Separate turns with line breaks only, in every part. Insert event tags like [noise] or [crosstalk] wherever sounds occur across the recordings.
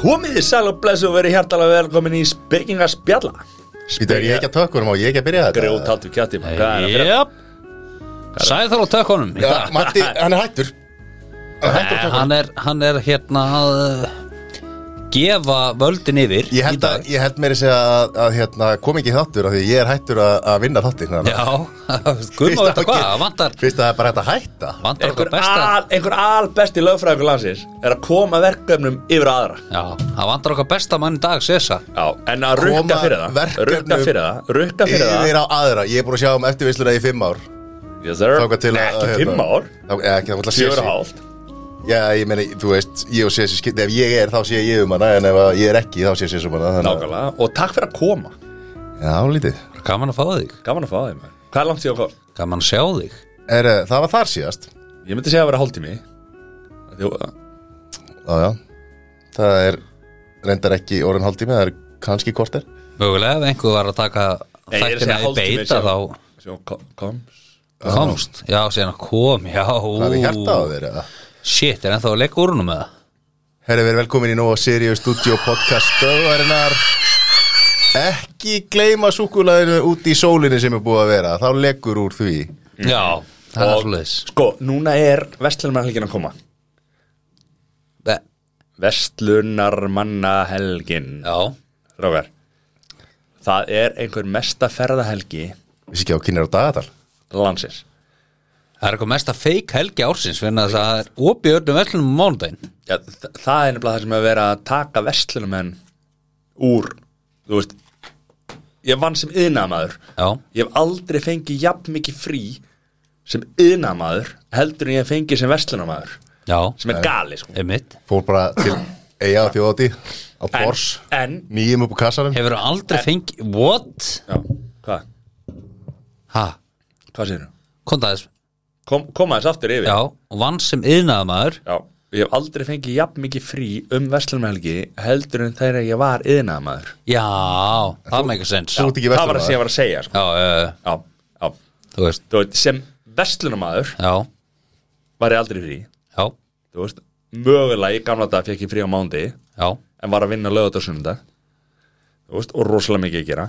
Komið þið sæl og blessu og verið hjartalega velkomin í Spekinga spjalla
Býtu, er ég ekki að tökka um og ég ekki að byrja þetta?
Grjót hattu kjatti Hvað er að fyrir?
Jáp Sæð þar á tökkunum í
Já,
dag.
Matti, hann er hættur Hann er hættur að
Eh,
tökka
hann, er, hann er hérna að uh, gefa völdin yfir
Ég held, að, ég held meiri segja að, að hérna, kom ekki í þáttur af því ég er hættur að, að vinna þáttir þannig að-
Já, [laughs] guð má
Fyrst
þetta
að-
hvað, vantar
Fyrst að það er bara hægt að hætta
Vantar
Einhver,
okkur besta
al, einhver albesti lögfræðingur landsins er að koma verkefnum yfir aðra
Já, það vantar okkar besta mann í dag, Sessa
Já, en að rukka
Koma
fyrir það
verkefnum
Rukka fyrir það Rukka fyrir það
Yfir á aðra, ég er búin að sjá um eftirvisluna í fimm ár
yes, sir.
Þáka til að
Nei, Ekki fimm ár
Þá- eða Ekki, þá ætla að sé
Fjögur og hálft
Já, ég meni, þú veist, ég og Sessi skipti Ef ég er, þá sé ég um hana En ef að ég er ekki, þá sé Sessi um hana þannig að-
Nákvæmlega Og takk fyrir að koma
Já, lítið
Gaman að fá þig,
Gaman að fá þig maður. Hvað er langt síðan kom?
gaman að sjá þig
er, eh, Það var þar síðast
Ég myndi segja að vera hálftími Þjó,
Já, já Það er reyndar ekki orðin hálftími Það er kannski korter
Mögulega ef einhver var að taka
Nei, ég er að
þættina
segja
í
hálftími,
beita
sjá.
þá
Sjó, kom, kom.
komst Já, síðan að kom, já
Það er hjarta á
ú.
þeir eða?
Shit, er ennþá að leika úr húnum með það
Herri, við erum velkomin í Nova Sirius Studio Podcast stöðvarinnar Ekki gleyma súkulaðinu út í sólinni sem er búið að vera Þá leggur úr því
Já, það er
Mm. Og-
svoleiðis
Sko, núna er vestlunarmannahelgin að koma
Be-
Vestlunarmannahelgin
Já,
Rágar Það er einhver mesta ferðahelgi
Vissi ekki á kynir á dagatal
landsins
Það er eitthvað mesta feik helgi ársins fyrir þess að það er opið öllum vellunum á mánudaginn
Já, þ- það er nefnilega það sem er verið að taka vestlunumenn úr Þú veist Ég vann sem yðnaðamaður
Já,
Ég hef aldrei fengið jafn mikið frí sem yðnaðamaður heldur en ég hef fengið sem vestlunamaður
já,
sem er gali sko
einmitt
Fór bara til eiga á þjóðati Á
En,
Bors
en
Nýjum upp á kassanum
Hefur aldrei fengið, what?
Já, hvað?
Ha,
Hvað segir þú?
kom það þess
Kom, koma þess aftur yfir
Já, og vann sem yðnaðamaður
Já, ég hef aldrei fengið jafn mikið frí um vestlunarhelgi heldur en þegar ég var yðnaðamaður
Já, það með ekki sens
Þú
Já,
ert ekki
Það var það sem ég
vestur
var að segja sko.
uh,
já, já.
þú veist
Þú veist, sem vestlunamaður
Já,
var ég aldrei frí
já,
Þú veist, mögulega í gamla dag fekk ég frí á mándi
já,
en var að vinna lögut á sunnudag Þú veist, og rosalega mikið að gera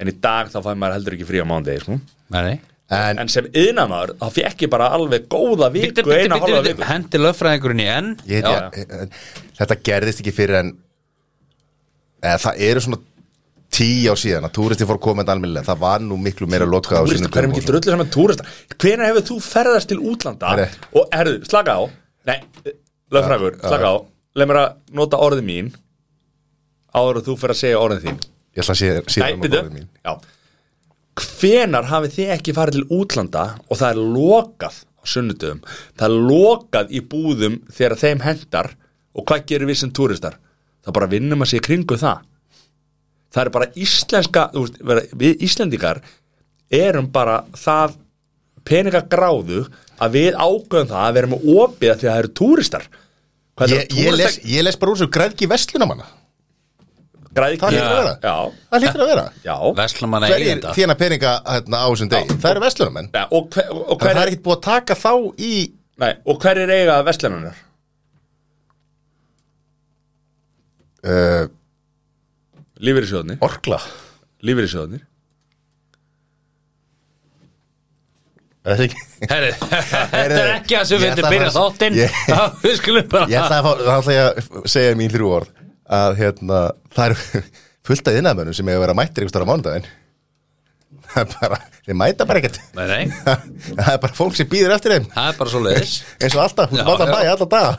en í dag þá fæði maður heldur ekki frí á mándi sko.
meni
En
en sem yðnaðmaður þá fekk ég bara alveg góða viku eina hálfa viku
Hendi löffræðingurinn í enn
ég,
Já,
já, þetta gerðist ekki fyrir en eða, það eru svona tíu á síðan að túristi fór að koma þetta almennilega það var nú miklu meira lotkað á
Túrista,
sínum
hvað er
dögum og
mikið
svona.
drullu saman túrista Hvenær hefur þú ferðast til útlanda
Herri.
og herðu, slaka á Nei, lögfrægur, slaka á Leð mér að nota orðið mín áður að þú fer að segja orðið þín
ég ætla að sé
Nei,
síðan
byrju, já Hvenar hafið þið ekki farið til útlanda og það er lokað á sunnudöfum það er lokað í búðum þegar þeim hendar og hvað gerir við sem túristar? Það bara vinnum að sé kringu það Það er bara íslenska þú veist, vera- við Íslendingar erum bara það peningagráðu að við ákveðum það að vera með opið af því að það eru túristar Hvað
ég, ég, les, ég les bara úr þessu græðki vestlunamanna
græðki?
það hlýtur að vera
Já,
það hlýtur að vera
já
Veslamanna
hverjir
eigenda
þína peninga hérna, á þessum degi það eru vestlunamenn
Ja, og, hver, og,
það
hver,
er ekkert búið að taka þá í
nei, og hver er eiga vestlunarinnar?
uh,
Lífeyrisjóðnir
orkla
Lífeyrisjóðnir
Er það ekki?
Herri, [laughs] Þetta er ekki það sem við
Ég ætla
ætlum
að
að byrja
fara-
þáttinn
Ég-
Já, [laughs] Við skulum bara
Ég ætla að, fá, þá ætla ég að segja mín þrjú orð að hérna, það eru [laughs] fullt af innamönnum sem hefur verið að mættir einhvers þar á mánudaginn það er bara, þeir mæta bara ekkert [laughs]
Nei, nei,
það er bara fólk sem býður eftir þeim
það er bara svo leiðis
[laughs] eins og alltaf, hún
Já,
báta
já.
bæja alltaf daga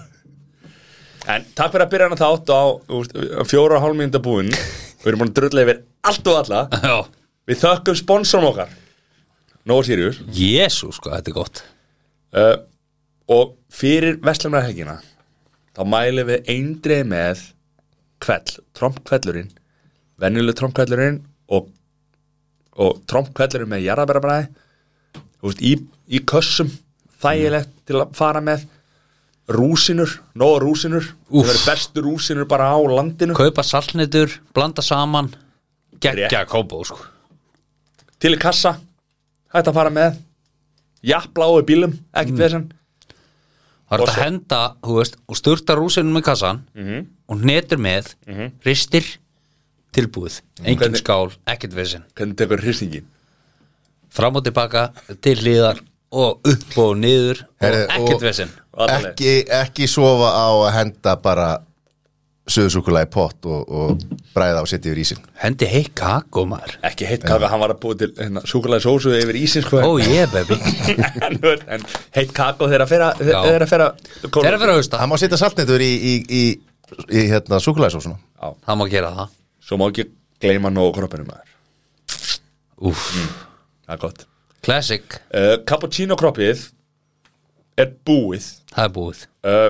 En takk fyrir að byrja hana þátt á úst, fjóra og hálfmynda búin Við erum búin að drulla yfir allt og alla
Já,
Við þökkum sponsorum okkar Nóa Sirius
jésu sko, þetta er gott
uh, Og fyrir Vestlumarhelgina Þá mælum við eindreið með Kvell, trompkvellurinn Venjuleg trompkvellurinn Og, og trompkvellurinn með jarðabærabræði Þú veist, í, í kössum Þægilegt til að fara með Rúsinur, nóa rúsinur
Úff.
Það verður bestu rúsinur bara á landinu
kaupa saltnitur, blanda saman geggja kómbó sko
til í kassa hægt að fara með jafnbláu bílum, ekkert mm. vesen
var
Og
þetta að henda, þú veist, og sturta rúsinum í kassan
Mhm.
-hmm. og netur með, ristir, tilbúið, engin
Hvernig-
skál, ekkert vissin,
Hvernig tekur hristingin?
fram og tilbaka, til hliðar og upp og niður
Herri,
og ekkert
og-
vissin.
Allavega.
ekki, ekki sofa á að henda bara söðsúkulega í pott og, og bræða á sitt yfir ísin
Hendi heitt kakó maður.
Ekki heitt kaka, hann var að búa til hérna, súkulega sósu yfir ísins sko
Ó ég
[laughs]
Oh, baby.
[laughs] en, þú veist, en heitt kakó þegar að fyrra
Já.
þegar að fyrra
Þegar fyrir að hausta,
Það má setja saltnetur í, í, í, í hérna, súkulæðsósuna
það má gera það.
Svo má ekki gleyma nóg kroppinu maður
Úf,
Það er gott
classic,
uh, Cappuccino kroppið er búið
það er búið.
uh,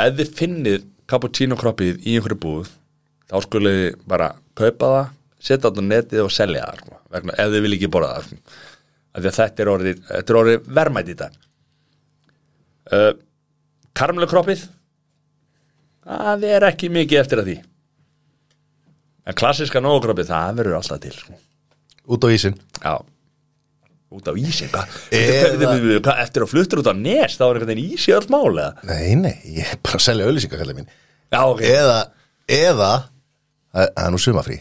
Ef þið finnið cappuccino kroppið í einhverju búð þá skulið þið bara kaupa það setja það á netið og selja það sko, vegna, ef þið vil ekki borða það sko. Af því að þetta er orðið, þetta er orðið vermætt í dag uh, Karmlu kroppið það er ekki mikið eftir að því en klassiska nógkroppið það verður alltaf til sko.
út á ísin
Já Út á ísi, hvað?
Eða-
Eða... hvað eftir að fluttur út á nes þá er einhvern veginn ísi allt mál eða?
Nei, nei, ég er bara að selja auðlýsingar kallið mín
Já, ok
Eða, eða Það það er nú sumafrí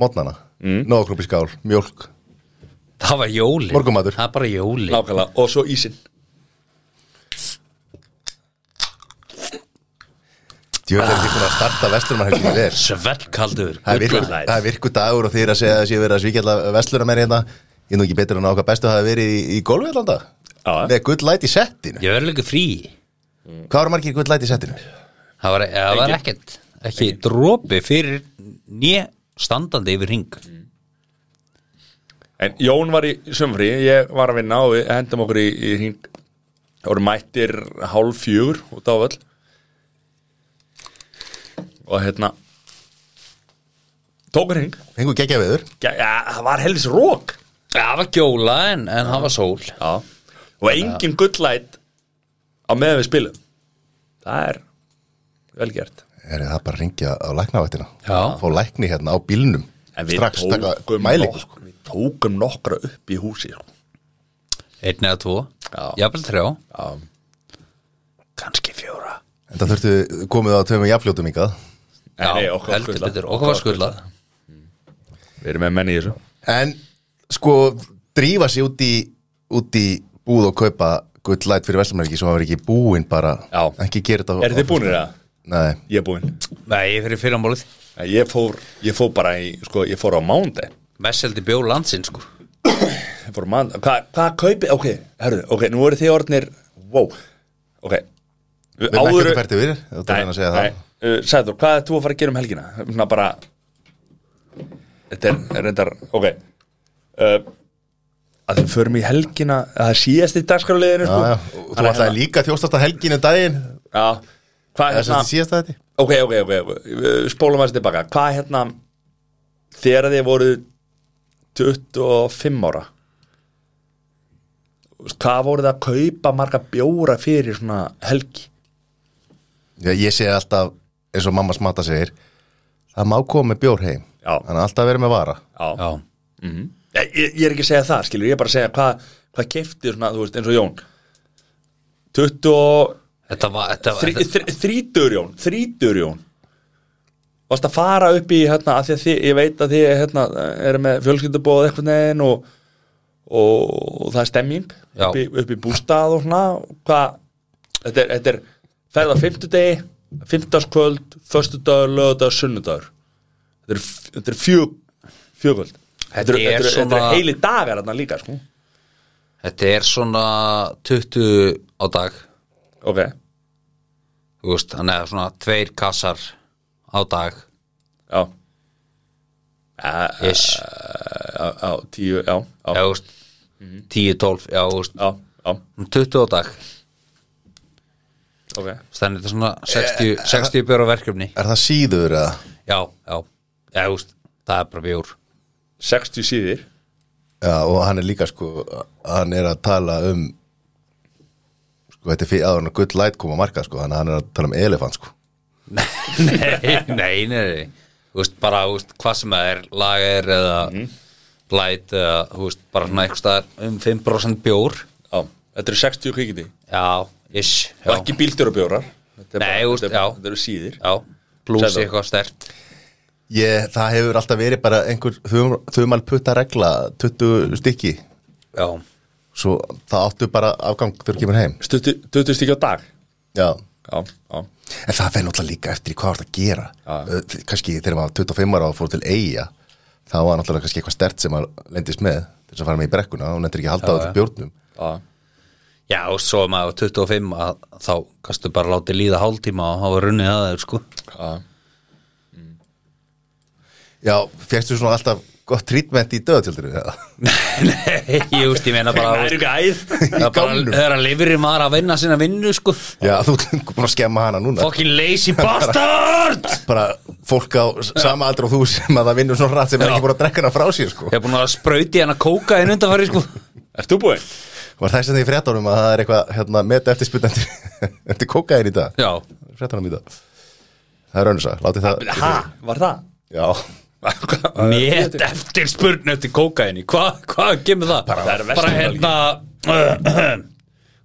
Mótnana, mm. nógkrumpi skál, mjólk
Það var jólin.
Morgunmatur.
Það er bara jólin.
Nákvæmlega, og svo ísin
Djörn er líka að starta vestlunarhelginni vel
Svellkaldur.
Það er virku-
Good night.
það er virku dagur og þeir að segja að þessi verið að svíkjalla vestluna meir hérna Ég er nú ekki betur en á okkar bestu hafi verið í, í golfi allan dag
Já. Mm.
Með gull light í settinu
Ég verður líka frí.
Hvað eru margir gull light í settinu?
Það var, það var ekkert ekki dropi fyrir nýja standandi yfir ring
En Jón var í sömfrí, ég var að vinna og við hendum okkur í, í hring Það voru mættir hálf fjögur út á öll Og hérna Tókur hring
Fengu geggja viður
Já, það var helvis rók
Það var gjóla en, en það var sól
Já Og engin gullæt á meðan við spilum Það er vel gert
Er það bara að ringja á læknavættina
Já.
Fá lækni hérna á bílnum
En við
Strax taka sko.
tókum,
mæling
nok við tókum nokkra upp í húsi sko.
Einn eða tvo,
Já.
jafnvel þrjá
Já,
Kanski fjóra
En það þurftu komið á tveimur jafnfljótum yngað
Já,
Nei, okkur var
heldur
skuldað.
betur, okkur var skuldað
Við erum með menni í þessu
En sko drífa sig út í, út í búð og kaupa gull light fyrir vestlumherki sem var ekki búinn bara
Já.
Ekki gera þetta á-
Er þið búinir það?
Nei,
Ég er búinn
Nei, ég fyrir fyrramálið
Nei, Ég fór, ég fór bara í, sko, ég fór á mándi
Vesseldi bjó landsinn sko
Ég fór á mándi Hvað hva kaupi, ok, herðu, ok, nú eru þið orðnir Wow, ok
við erum ekki þetta fært yfir Þú erum að segja það
uh, Sæður, hvað er þú að fara að gera um helgina? Svona bara Þetta er, er reyndar, ok uh, Að þið förum í helgina Það er síðast í dagskráliðinu
Já,
sko.
já, og þú ætlaði líka þjóstasta helginu daginn
Já, hvað
Það
er
er sem þetta
hérna
síðasta þetta
Ok, ok, ok, ok, Við spólum aðeins tilbaka Hvað hérna Þegar þið voru 25 ára Hvað voruð þið að kaupa marga bjóra fyrir svona helgi?
Já, Ég segi alltaf, eins og mamma smata segir Það má koma með bjór heim
Já.
Þannig að alltaf verið með vara
Já,
Já,
Ég, ég ég er ekki að segja það, skilur, ég er bara að segja hvað hva kefti svona, þú veist, eins og Jón 20 og
þetta var þetta,
þrí-
þetta,
þrí- þrítugur Jón, þrítugur Jón Varst að fara upp í hérna, af því að þið, ég veit að þið hérna, eru með fjölskyldubóð eitthvað neginn og, og, og það er stemming
Já.
upp í, upp í bústað og svona hvað, þetta er, þetta er ferð á fimmtudegi, fimmtudagskvöld föstudagur, lögudagur, sunnudagur þetta er, þetta er fjög fjögvöld þetta eru-
Þetta er
þetta eru þetta
svona-
eru heili dagar þarna líka sko.
þetta er svona 20 á dag
ok,
Þú veist, þannig að svona tveir kassar á dag
já Já,
Ish,
Eh, já, já, tíu, já, já,
já, þú veist 10-12, já, þú veist
já, já,
20 á dag
ok
Þannig þetta er svona 60, 60 bjóra verkefni
Er það síður eða?
Já, já, já, þú veist, það er bara bjór
60 síðir
Já, og hann er líka sko, hann er að tala um sko, þetta er fyrir áður en að gull light koma á marka sko, þannig að hann er að tala um elefant sko.
Nei, nei, nei, nei Þú veist, bara, þú veist, hvað sem það er lager eða light eða, þú veist, bara svona eitthvað staðar um 5% bjór
Já, þetta eru 60 kvikindi
Já, ish,
og
já,
ekki bíldur og bjórar þetta er
Nei, úst,
þetta er bara-
já.
þetta eru síðir
já blúsi
Sæður.
eitthvað stert
Ég, það hefur alltaf verið bara einhver þumal putta regla, 20 stykki
já,
svo það áttu bara afgang þegar þú kemur heim
Stuttu- 20 stík á dag
Já,
já, já,
en það fer náttúrulega líka eftir í hvað þú ert að gera
Já.
Ö, kannski þegar maður var 25 ára og fór til eiga þá var náttúrulega kannski eitthvað stert sem maður lendist með til þess að fara með í brekkuna og nendir ekki að halda á
Já,
þetta
já.
bjórnum
já.
já, og svo er maður 25 að, þá kannstu bara látið líða hálftíma og hafa runnið að þeir sko [laughs]
já.
Já, férstu svona alltaf gott trítment í döðatjöldinu
nei, ég veist, ég meina bara
Það
þú
er
veist,
gæð
það er bara,
gámnum.
það er að lifri maður að vinna sinna vinnu sko
Já, þú ert löngu búin að skemma hana núna
fucking [laughs] lazy bastard
bara fólk á sama aldra og þú sem að það vinnur svona rætt sem er
Já.
ekki búin að drekka hana frá sér sko.
ég er búin að sprauti hann að kóka einu undanfæri sko
Ert þú búinn?
var þess að því fréttunum að það er eitthvað hérna, met eftir spytandi eftir [laughs] kókaðin í dag
já,
fréttunum í dag það er önnsa, láti það
Ha, var það?
já,
Mér eftir spurn eftir kókaini Hva, Hvað kemur það?
Bara- Það er
bara hérna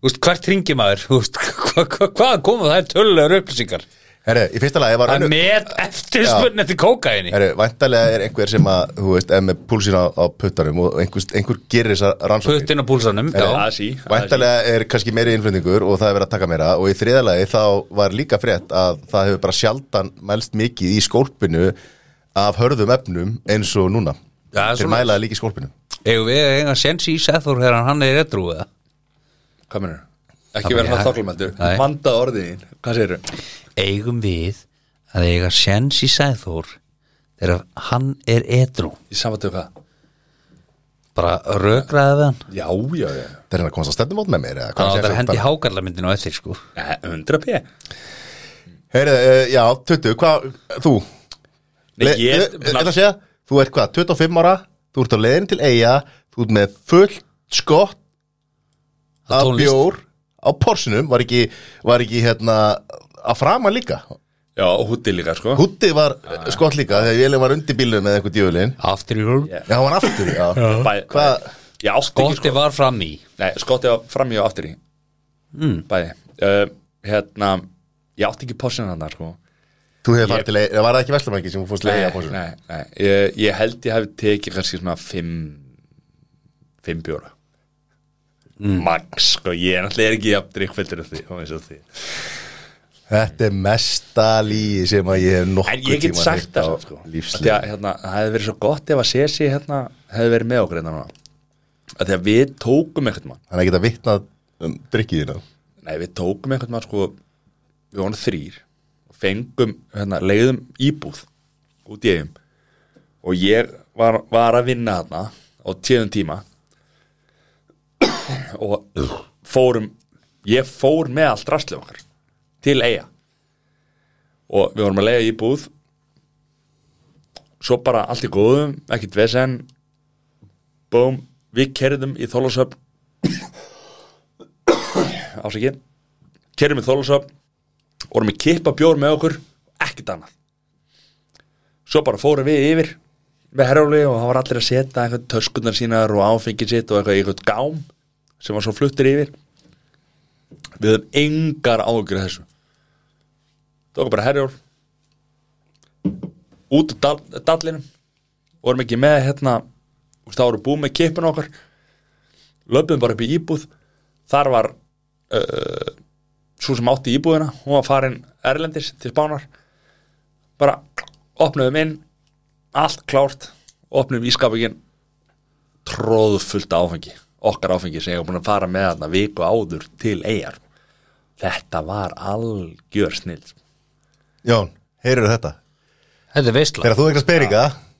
Úst, hvert ringir maður Úst, [laughs] hva, hva, Hvað koma það er tölulegar upplýsingar
herru, í fyrsta lagi var
Það er
önnur
með eftir spurn eftir kókaini
herru, væntalega er einhver sem að þú veist, er með púlsín á, á puttanum og einhver, einhver gerir þessar rannsóknir
Puttin á púlsanum
Það
já.
sí
Væntalega er kannski meiri innflutningur og það er verið að taka meira og í þriðalagi þá var líka frétt að það hefur bara sjaldan mælst mikið í skólpinu af hörðum efnum eins og núna
Já,
Þeir
svoleiðis.
mælaði líka í skólpinu
Ef við eiga sens í Sethor þegar hann- hann er réttrú eða
Hvað mennur?
Það
Ekki vera
bara-
það þoklumæltur
Nei.
Vanda orðin Hvað segir þau?
Eigum við að eiga sens í Sethor þegar hann er réttrú
Í samvættu hvað?
Bara rökraði við hann
Já, já, já
Það er hann að komast að stefnumót með mér eða
Þannig að
hvað
það er
sé
hendi
að-
hákarlamyndinu á eftir sko
Nei, 100 p
Heyrðu, uh, já, tuttu, hvað, þú
Nei,
Le-
ég-
eh, eh, ætla að segja, þú ert hvað, 25 ára þú ert á leiðin til eiga þú ert með fullt skott
Á
af
tónlist.
bjór á porsinum, var ekki, var ekki hérna, að frama líka
Já, og húti líka, sko
Húttið var ah. skott líka þegar Vélin var undir bílum með einhvern djöfulinn
After your
Yeah.
Já, hann var aftur, já
Bæ-
Hvað,
Ég átti ekki,
Gotti var fram í
sko Nei, skotti á framjá og aftur í mm. Bæði uh, Hérna Ég átti ekki porsin hann þar, sko
þú hefði farið til leið, var það ekki Veslamænki sem þú fórst leið á
Nei,
fórsum?
nei, nei ég, ég held ég hef tekið kannski svona fimm fimm bjóra max, sko, ég er náttúrulega ekki jafn drikkfældur af því, og eins og því
Þetta er mesta líi sem að ég hef nokkuð
en ég get sagt það samt, sko því
Lífslega
að hérna, það hefði verið svo gott ef að Sesi hérna, hefði verið með okkur hérna núna að því að við tókum einhvern mann
Þannig að geta vitnað um drikkiðina
nei, við tókum einhvern mann, sko við vonum þrýr og fengum, hérna, leiðum íbúð út í eigum og ég var, var að vinna þarna á tíðum tíma og fórum ég fór með allt rastlið okkar til eiga og við vorum að leiða íbúð svo bara allt í góðum ekkert vesen búm, við kerðum í þólasöfn ásæki kerðum í þólasöfn vorum í kippa bjór með okkur ekkert annað svo bara fórum við yfir með herjóli og það var allir að setja eitthvað töskunar sínar og áfengið sitt og eitthvað, eitthvað gám sem var svo fluttir yfir við höfum engar áhugur þessu tókum bara herjól út úr dal- dallinum vorum ekki með hérna þú veist, þá voru búið með kipin okkar löpum bara upp í íbúð þar var uh, svo sem átti íbúðina hún var farin Erlendis til Spánar bara opnuðum inn allt klárt, opnuðum ískapingin tróðfullt af áfengi okkar áfengi sem ég var búin að fara með þarna viku áður til eigar þetta var algjör snill
Jón, heyrðu þetta
Þetta er veistla
Þegar þú eitthvað spyringa,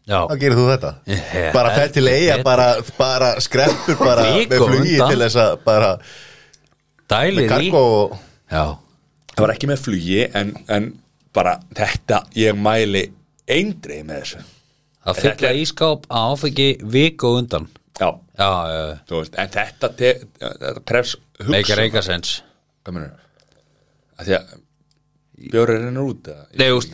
Já.
þá gerir þú þetta
Já,
Bara fer til eiga,
heldur
bara, bara skreppur bara
Viku
með flugi
undan.
til þess að bara
Dælið í
kargo og
Já,
það var ekki með flugi en, en bara þetta ég mæli eindreið með þessu
að fylla
Þetta er-
ískáp að áfengi viku á undan
já,
Já, já,
þú veist, en þetta, te, þetta krefs
já meikar
hugsa
eiga sens
hvað mennur því að bjórið rennur út eða-
Nei, úst,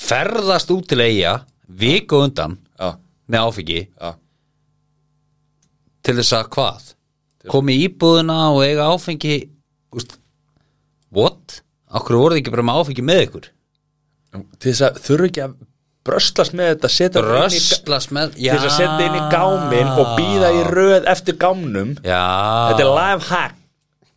ferðast út til eiga viku á undan
já,
með áfengi
já,
til þess að hvað? Komi í íbúðuna og eiga áfengi úst, what? Akkur voruð þið ekki bara með áfengi með ykkur?
til þess að þurfi ekki að bröstlast með þetta setja þetta inn í ga-
Röstlast með
til þess að setja inn í gámin og býða í röð eftir gámnum
Já
þetta er live hack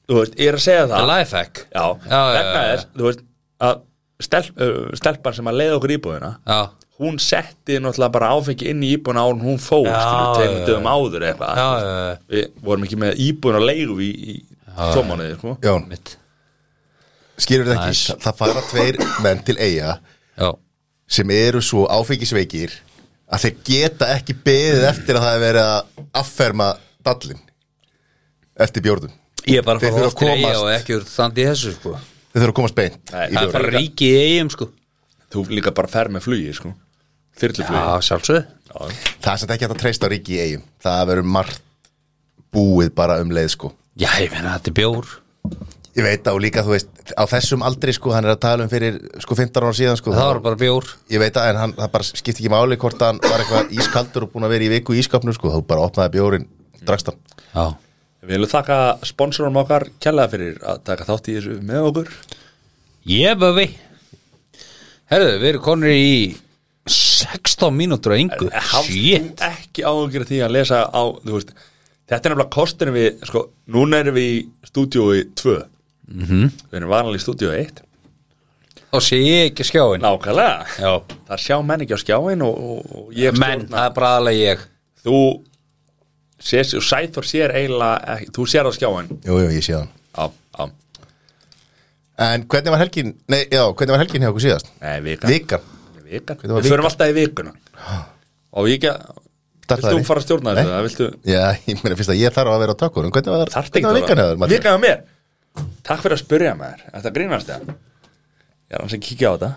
þú veist, ég er að segja það
Lifehack
já,
já, já,
vegna
já.
þess, þú veist að stelp, uh, stelpan sem að leiða okkur íbúðina
Já
hún setti náttúrulega bara áfengi inn í íbúðina án hún fór
Já,
skilur,
já,
tveimur dögum áður eða
Já,
eitthvað
já, já,
við vorum ekki með íbúðin að leigu í, í tómanuði sko.
Jón,
mitt
skilur þetta ekki
Nice.
Þa- Það fara tveir menn til eiga
Já,
sem eru svo áfengisveikir að þeir geta ekki beðið eftir að það er verið að afferma dallin eftir bjórnum
ég er bara að
Þeir
fara
þurfa
oft til
að
eiga
komast.
og ekki úr þandi í þessu sko
Þeir þurfa að komast beint
Nei,
í
Það er
bjórnum
bara ríkið í eigum sko
þú líka bara fer með flugi sko. þyrluflugi
Já, sjálfsög
Það er samt ekki hægt að treysta á ríki í eigum Það verður margt búið bara um leið sko
Já, ég meina þetta er bjór
Ég veit það og líka þú veist á þessum aldri sko hann er að tala um fyrir sko 15 ára síðan sko
Það var bara bjór
Ég veit það en hann, það bara skipti ekki máli hvort hann var eitthvað ískaldur og búin að vera í viku í ískapnu sko þú bara opnaði bjórin, drakst hann
Já
Við viljum þakka sponsorum okkar kjærlega fyrir að taka þátt í þessu með okkur
Sko, Yeah, baby Herðu, við erum konur í 16 mínútur að
Eh,
yngu Shit
Hafst þú ekki áhugjur því að lesa á þú veist, Þetta er nefnilega kostin við sko, Núna erum við í stúdíói 2
Mhm.
-hmm. Við erum vanalega í stúdíói 1
Þá sé ég ekki skjáin
Nákvæmlega
Já
Það sjá menn ekki á skjáin og, og, og ég
Menn, það er bara aðlega ég
Þú sér, sæþór sér eiginlega ekki, Þú sér á skjáin
Jú, jú, ég sé hann
á, á,
En hvernig var helgin, nei, já, hvernig var helgin hjá okkur síðast?
Nei, vikan,
Vikan
vikan.
Hvernig var
Við förum alltaf í vikuna Og ég ekki
Startaði.
Viltu fara að stjórna
Nei.
þessu? eða Viltu
Já, [laughs] ég meina fyrst að ég þarf að vera á tökunum Hvernig var,
Þarft
hvernig
ekki
var vikan hjá þér,
að
Matti?
Vikan hjá mér Takk fyrir að spyrja maður Þetta grínast það Ég er hans að kíkja á þetta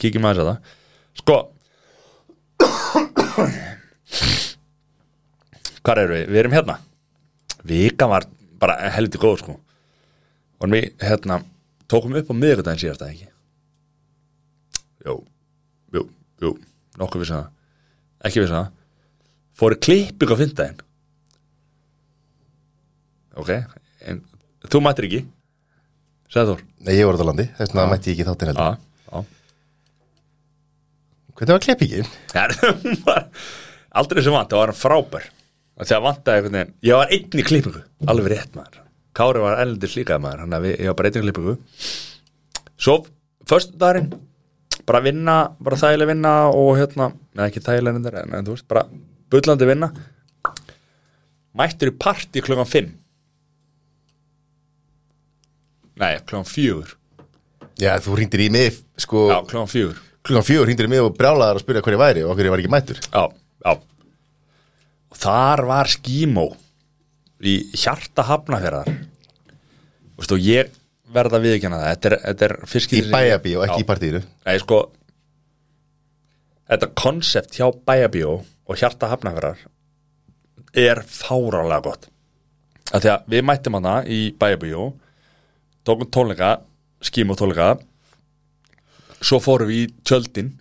Kíkjum aðeins á það Sko [coughs] Hvar erum við? Við erum hérna Vikan var bara heldur góð sko Og við hérna Tókum upp á miðvikudaginn síðast að ekki Jó Jú, jú, nokkuð vissi það Ekki vissi það Fóru klipping á fyndaginn Ok, en þú mættir ekki Sæður Þór
Nei, ég var út á landi, þess vegna mætti ég ekki í þáttinn heldur
Já, já [laughs]
Hvernig var klippingin?
Það er- hún var aldrei sem vant, það var hann frábær og þegar vantaði einhvern veginn ég var einn í klippingu, alveg rétt maður Kári var eldur slíkað maður, hann að við, ég var bara einn í klippingu svo, föstudagurinn bara vinna, bara þægileg vinna og hérna, neða ekki þægileg vinna en, en þú veist, bara bullandi vinna mættur í partí klukkan 5 nei, klukkan 4
Já, þú hringdir í mig, sko
já, klukkan 4
Klukkan fjögur hringdir í mig og brjálaðar að spyrja hver ég væri og hver ég var ekki mættur
Já, já Og þar var skímó í hjarta hafnafjörðar Vistu, og ég verða að viðkjanna það Þetta er, þetta er fyrst
Í
skipti sem ég-
bæjabíó,
Já.
ekki í partíinu
Nei, sko Þetta konsept hjá bæjabíó og hjarta hafnafjörðar er fáránlega gott að því að við mættum hana í bæjabíó tókum tónleika skím og tónleika svo fórum við í tjöldin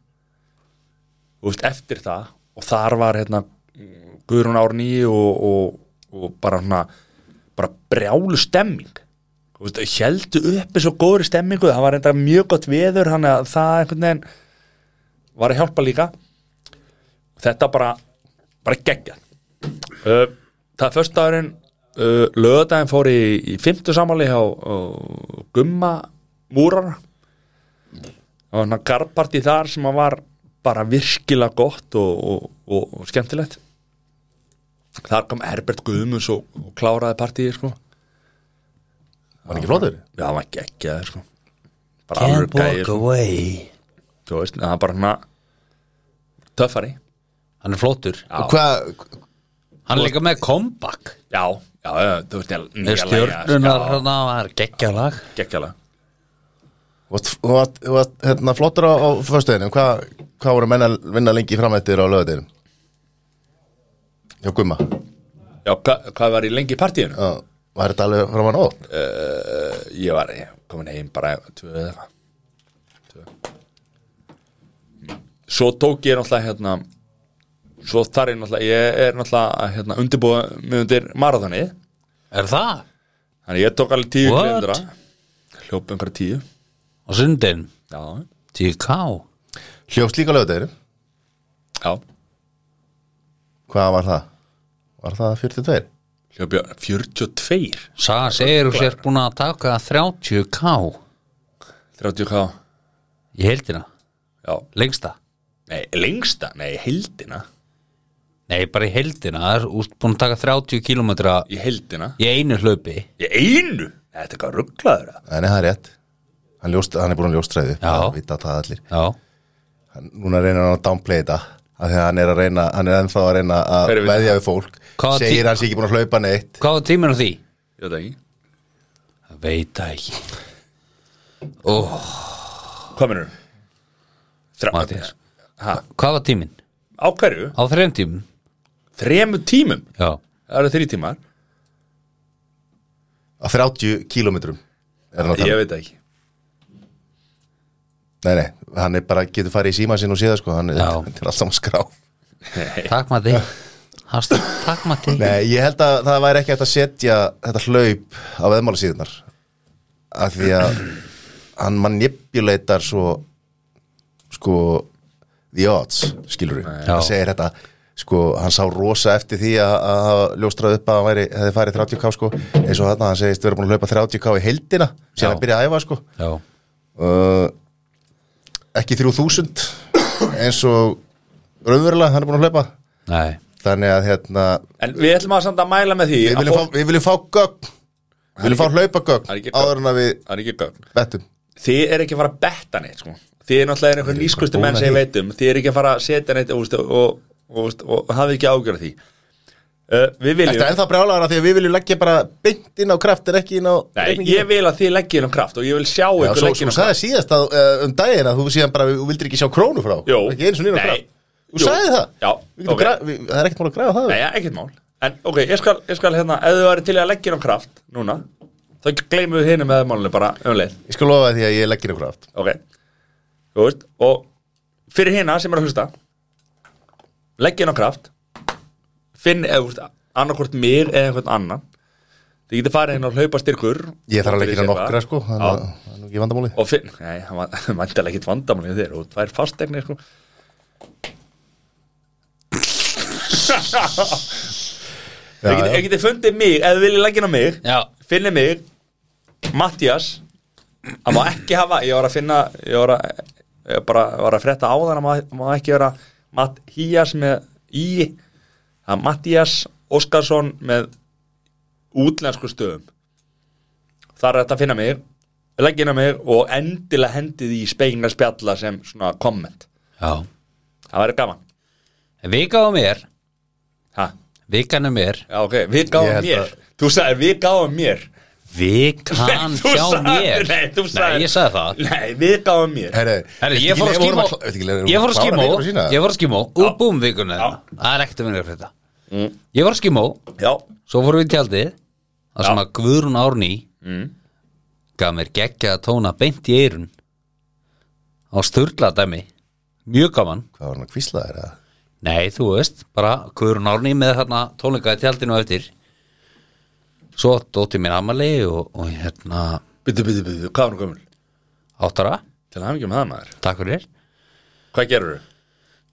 og veist, eftir það og þar var hérna Guðrún Árný og, og, og bara hérna bara brjálu stemming Þú veist, heldu uppi svo góðri stemmingu það var enda mjög gott veður hann að það einhvern veginn var að hjálpa líka þetta bara bara geggja uh, það er föstudagurinn uh, lögudaginn fór í, í fymtu samáli hjá uh, Gumma Múrara og hann garparti þar sem að var bara virkilega gott og, og, og, og skemmtilegt þar kom Herbert Guðmunds og, og kláraði partíi sko
Var hann ekki flottur?
Já, hann var geggjaður sko Bara alveg
Can't
gæði
walk
sko.
away
Þú veist, það var bara hana Töffari
Hann er flótur
Já.
Og hvað,
Hann er líka með comeback
Já, já, já, þú veist, ég-
Þeir
nýja
stjörnunar
lægja
hann að hann er geggjalag
Geggjala
Þú varst- þú varst- þú varst hérna, flottur á, á föstuðinu Hvað hva voru menn að vinna lengi fram eftir á lögadeinum? Hjá Gumma
Já, hva, hvað var ég lengi í partíinu? Eh,
Já, Var þetta alveg fram að nótt?
Ég var ég, komin heim bara Tvö eða eitthvað Tvö. Svo tók ég náttúrulega hérna Svo þar ég náttúrulega Ég er náttúrulega hérna, undirbúið Mjög undir marathonið
Er það?
Þannig ég tók alveg tíu
What?
klindra hljóp einhverja tíu
á sundin
já,
TK
Hljófst líka lögdeginu
já,
Hvað var það? Var það 42?
hljóp ég 42
Saga segir hún sér búin að taka 30K
30 k
í heildina,
já,
lengsta
nei, lengsta, nei, heldina
Nei, bara í heildina, það er úst búin að taka 30 km
í heldina,
í einu hlaupi
í einu þetta er eitthvað rugglaður að
Nei, nei, það er rétt Hann, ljóst, hann er búin að ljóstræði
Já.
Það vita það allir
Já,
hann, Núna reynir hann að downplay þetta af því að hann er að reyna, hann er ennþá að reyna að
Hver er við-
veðja við fólk
Hvaða tí-
segir hann sé ekki búin að hlaupa neitt
hvað var tíminn á því?
ég veit það ekki,
Það Veit það ekki Ó,
hvað minnur?
Matthías
Ha,
Hvað var tíminn?
á hverju?
Á þreim tíminn?
þremur tímum,
Já,
það eru þrjí tímar
á 30 kílómetrum er hann að tala um.
ég veit það ekki
Nei, nei, hann er bara, getur farið í síma sinn og séða sko, hann er,
Já.
þetta er allt saman skrá
takk Matti Hastur, takk Matti
Nei, ég held að það væri ekki hægt að setja þetta hlaup á veðmálasíðunar af því að hann manipuleitar svo sko the odds, skilur við
Já.
hann segir þetta, sko, hann sá rosa eftir því að, að hafa ljóstrað upp að hann væri, hefði farið 30k sko, eins og þarna hann segist vera búin að hlaupa 30k í heldina
Já.
sem hann byrja að æfa sko
Já,
uh, ekki 3000 eins og raunverulega hann er búin að hlaupa
nei
þannig að hérna
en við ætlum að samt að mæla með því
Við
að
viljum, fá, við viljum fá gögn Við viljum fá
það er
hlaupagögn
ekki gögn.
áður en að við
það er ekki gögn
bettum
þið er ekki að fara að betta neitt sko. þið er náttúrulega einhver nýskustu menn sem ég veit um þið er ekki að fara að setja neitt og, og, og, og, og, og hafið ekki ágjörð því uh, við
Þetta er
viljum
ennþá brjálæðara því að við viljum leggja bara beint inn á kraft en ekki inn á
Nei, ég vil að þið leggja inn á kraft og ég vil sjá
Já,
ykkur
svo,
leggja
svo
inn á kraft
sagði síðast að, uh, um daginn að þú síðan bara, þú vildir ekki sjá krónu frá okkur,
Jó.
Ekki eins og inn á
Nei.
kraft Þú
Jú.
sagði það
Já,
Við getum
ok.
gra- við, Það er ekkert mál að græða það
Nei, ekkert mál En ok, ég skal, ég skal hérna, ef þið væri til í að leggja inn á kraft núna, þá gleymum við hinum með málunum bara um leið
Ég skal lofa því að ég leggja inn á kraft
ok Þú veist, og fyrir hérna sem er að hlusta leggja inn á kraft finn eða þú veist, annarkvort mér eða einhvern annan þið getur farið hérna að hlaupa styrkur
Ég þarf að leggja inn á nokkra sko
Já.
Þannig að það er nú ekki vandamáli
og finn, nei, hann var [laughs] vandalega ekkert vandamál hjá þér og það er fastegnir sko
Já,
Ég
já.
geti, geti fundið mig, ef þið viljið leggja inn á mig
Já,
finnið mig, Mattias hann má ekki hafa ég var að finna, ég var að ég bara var að frétta á þann hann má- má ekki vera Mattias með í það er Mattias Óskarsson með útlensku stöðum þar er þetta að finna mig leggja inn á mig og endilega hendið í speglingar spjalla sem svona komment
já
það væri gaman
Vika á mér,
ha?
vikan á mér
Já, ok, við
Ég
gáum
held
mér
að-
Þú sagði, við gáum mér
Vikan
Þú
hjá
sagðir-
mér
Nei, þú sagði
Nei, ég sagði það
Nei, við gáum mér
Herre,
Herri,
viltu
ég
ekki
fór að
leyfa honum
skímó
kl- viltu ekki leyfa honum
Ég fór að
klára
skímó
vikuna sína?
Ég fór að skímó
Já.
Úr búm vikuna
Já.
þeirna. Það er ekkert að vinna fyrir þetta Ég fór að skímó
Já,
Svo fórum við í tjaldið Það sem
Já.
að Guðrún Árný Gaf mér geggja að tóna beint í eirun Á sturla dæmi Mjög gaman
Hvað var hann að kvísla þér að?
Nei, þú veist, bara Guðrún Árný með þarna tónleika í tjaldinu á eftir Svo dótti mér amali og, og hérna
byttu, byttu, byttu, hvað var nú gömul?
áttara,
Til hann ekki með það maður
takk fyrir
Hvað gerur þú?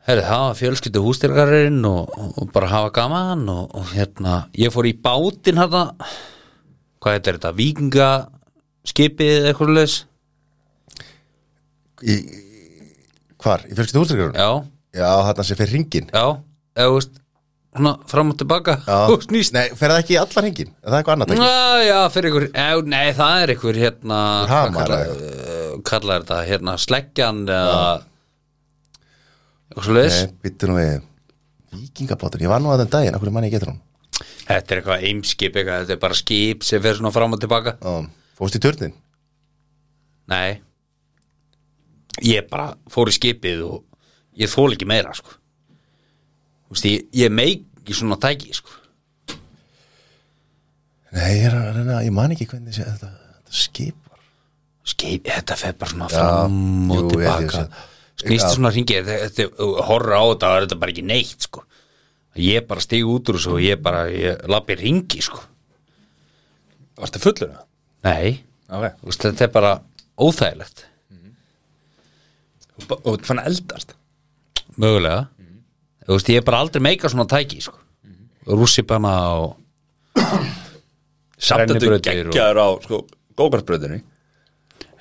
Herri, það var fjölskyldu hústyrkarinn og, og bara hafa gaman og, og hérna, ég fór í bátinn hérna, hvað heitir þetta, vikingaskipið eða eitthvað leis,
Í, hvar? Í fjölskyldu hústryggur?
já,
Já, þarna sem fer ringin
já, eða þú veist, svona fram og tilbaka,
Já.
[laughs] og snýst,
Nei, fer það ekki í allan hringin? Er það eitthvað annað tæki?
já, já, fyrir ykkur, já, nei, það er ykkur hérna,
Hamar
kallar, kallar þetta, hérna, sleggjan eða, eitthvað svo leis,
Nei, byttu nú við Víkingabátur, ég var nú að þenn daginn, okkur manni ég getur hún
þetta er eitthvað eimskip, eitthvað, þetta er bara skip sem fer svona fram og tilbaka,
um, Fórst í törnin?
Nei Ég bara fór í skipið og ég þól ekki meira sko Þú veist, ég, ég meik í svona tæki sko
Nei, ég, er að reyna, ég man ekki hvernig sé, þetta, þetta skip var
Skip, þetta fer bara svona fram og
jú, ég held ég
tilbaka
sé það.
Snýstu
Já.
svona hringi Horra á þetta, það er þetta bara ekki neitt sko Ég bara stig út úr þessu og ég bara, ég lappi hringi sko
Varstu fullur það?
Nei,
ok
Þú veist, þetta er bara óþægilegt
Og ba- og fann að eldast
mögulega Þú veist, ég er bara aldrei meika svona tæki sko. rússipanna og
samt að þú
Rennibrautir og-
geggjaður á sko, gókartbröðinni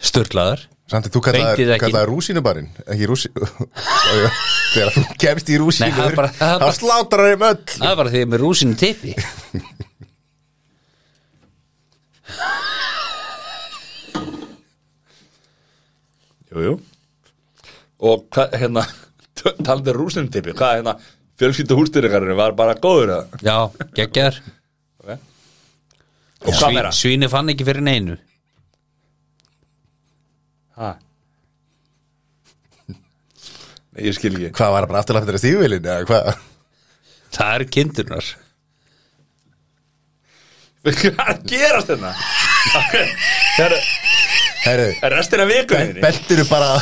störlaðar
Samt að þú
Beintið
kallaðar
ekki.
kallaðar rúsínubarinn Ekki rúsi [laughs] Þegar þú kemst í
Nei, það er
rúsínur
bara- það er
Þá
bara-
slátar þeim öll
það er bara því ég er með rúsinu tippi
Jújú jú. Og hvað, hérna, [laughs] talaði rúsnum tipi Hvað, hérna, fjölskyldu hústyrkarinn var bara góður að
já, geggjar
okay. Og hvað meira?
svíni fann ekki fyrir neinu
Ha? Nei, ég skil ekki [laughs]
Hvað var það bara afturlega fyrir stífvélin eða hvað?
það eru kindurnar
Hvað er að gerast [laughs] hérna? Það
Herru,
er restir af vikuðinni
bentur bara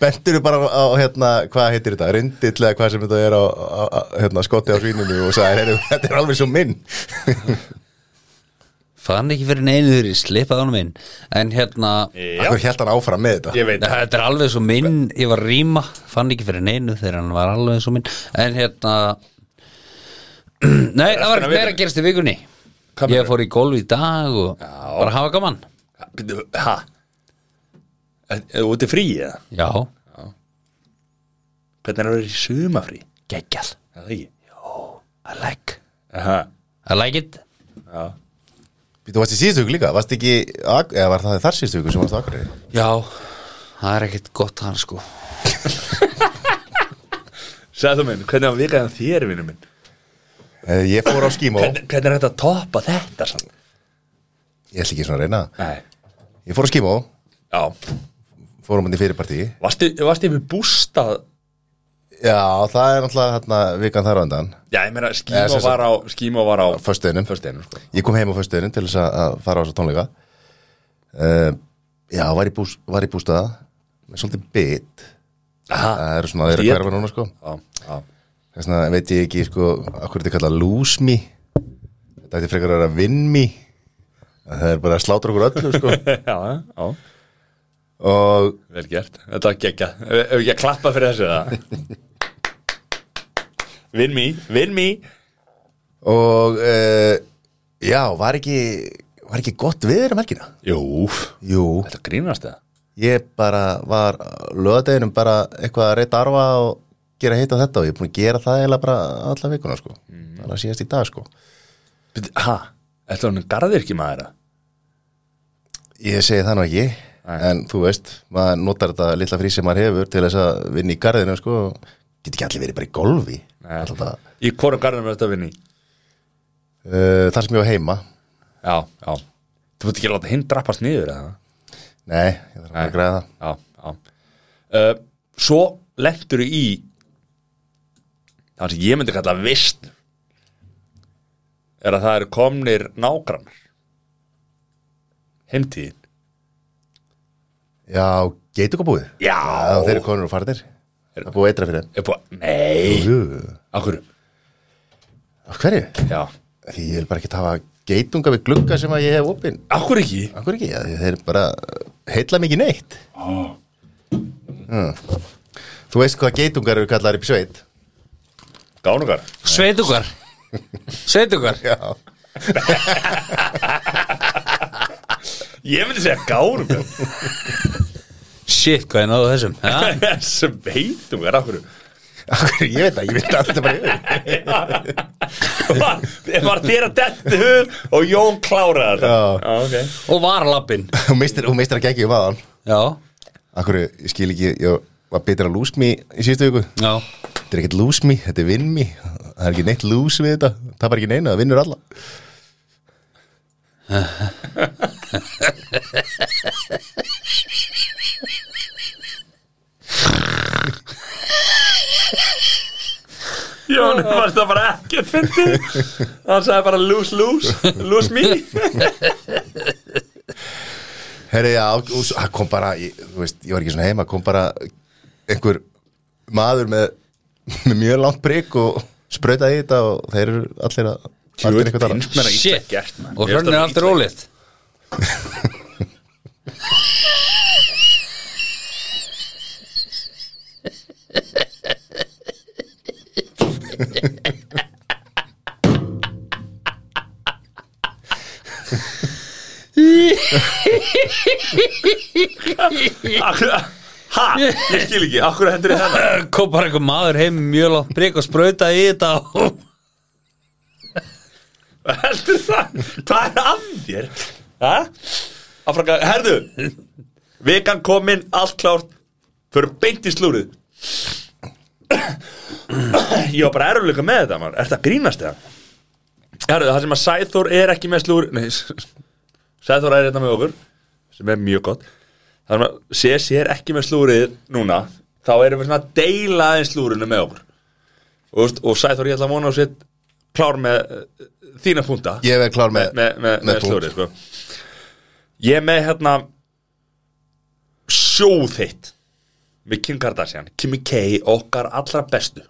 Bentur bara á hérna Hvað heitir þetta? Rindill eða hvað sem þetta er á, á, á hérna, skoti á svíninu og sagði Herru, [laughs] þetta er alveg svo minn
fann ekki fyrir neinu þegar ég slippaði honum inn en hérna
Já,
Akkur held hann áfram með þetta
ég veit það
þetta er alveg svo minn, ég var að rýma fann ekki fyrir neinu þegar hann var alveg svo minn en hérna [clears throat] nei, það var
Restina
ekki meira
vikunni.
að gerast í vikunni
Hvað
ég
meinarðu?
fór í golf í dag og
Já.
bara hafa gaman
Býttu, Ha? Er er þú úti í fríi eða?
já,
Hvernig er að vera í sumafrí?
geggjall,
Er Það ekki
I like
Aha,
I like it
já
Þú varst í síðustu viku líka, varst ekki Ak- eða var það þar síðustu viku sem varst á Akureyri?
já, það er ekkit gott hann sko
Sæðu minn, hvernig var vikaðan þér, vinnu minn?
Eh, Ég fór á skímó
[laughs] Hvernig, hvernig er þetta að toppa þetta? Sann?
Ég ætla ekki svona að reyna það.
Nei
Ég fór á skímó,
Já,
fórum hann í fyrirpartí
varstu, varstu yfir bústa
Já, það er náttúrulega hérna, vikan þar á undan
Já, ég meina,
Eða
skíma
sem sagt-
var á Skíma var á
Föstuðinum
Fösteinu, sko
Ég kom heim á föstuðinum til þess að- að fara á þess tónleika uh, Já, var í, bús, var í bústaða með Svolítið bit
Aha,
Það eru svona þeirra
Ég-
hverfa núna sko
já, já [laughs]
Þess vegna veit ég ekki sko Akkur þetta er kallað lose me Þetta ætti frekar að vera win me Það er bara að slátra okkur öllu sko
Já, já,
Og
vel gert Þetta var geggja, ef ekki að klappa fyrir þessu það Vinn mý, vinn mý
Og uh, já, var ekki var ekki gott viður um helgina?
Jú,
Jú,
þetta grínast það
ég bara var löðadeginum bara eitthvað að reyta arfa og gera hitt á þetta og ég er búin að gera það eiginlega bara alla vikuna sko þannig að síðast í dag sko
Bíddu, Ha, þetta var hann garðir ekki maður það
ég segi það nú ekki, en þú veist maður notar þetta litla frí sem maður hefur til þess að vinna í garðinu sko get ekki allir verið bara í golfi Alltaf það.
Í hvorum garðinum er þetta vinn í?
uh, þar sem ég var heima
Já, já Þú búið ekki að láta hinn drappast niður eða?
nei, ég þarf bara að græða það
já, já. Uh, svo lentur í það sem ég myndi kalla vist er að það eru komnir nágrannar heimtíðin
já, geitu hvað búið?
Já.
þeir eru konur og farðir það er búið eitra fyrir
er búið, nei,
þeim
á hverju
af hverju?
já,
því ég vil bara ekki hafa geitunga við glugga sem að ég hef opinn
á hverju ekki
Akkur ekki, að þeir bara heilla mikið neitt oh. Þú veist hvað geitungar eru kallar upp í sveit
gánungar, [laughs]
sveitugar sveitugar
Já
ég myndi segja gánungar
shit hvað ég náðu þessum ja?
[laughs] sem veitungar, á hverju
Akkur, ég veit það, ég veit alltaf bara yfir
var, var þér að detti hug og Jón kláraði þetta
Já.
já,
og varlappin
Hún meistir, hún meistir að gegja um aðan
já,
Akkur, ég skil ekki, ég var betur að lose me í síðustu viku
já,
Þetta er ekkert lose me, þetta er win me Það er ekki neitt lose við þetta Það er ekki neina, það vinnur alla
ok Jón varst það bara ekki að fyndi hann sagði bara lose, lose, lose me
Herri, já, og svo- það kom bara, ég, þú veist, ég var ekki svona heima, kom bara einhver maður með, með mjög langt prigg og sprautaði í þetta og þeir eru allir að, allir
Djöfull
eitthvað tala.
finnst mér það illa
shit
gert, man.
og
Mér finnst
hrönnir
það
aftur
illa
ólið
Ha, ég skil ekki, akkur hendur í hennar
kom bara einhver maður heim með mjög látt prik og sprautaði í þetta og
Heldur það, hvað er að þér? Ha? Afraka, herðu Vikan komin, allt klárt Förum beint í slúrið Ég var bara erfleika með þetta, maður Er þetta grínast eða? Herðu, það sem að Sæþór er ekki með slúr Nei, Sæþór er þetta með okkur Sem er mjög gott Það sem að Sessi er ekki með slúrið núna Þá erum við svona að deila aðeins slúrinu með okkur Og, veist, og Sæþór, ég ætla að vona og sitt Klár með eh, þína punta
Ég er klár með,
með, með, með
punkt.
slúrið sko. ég er með hérna sjóð hitt með Kim Kardashian Kimi K, okkar allra bestu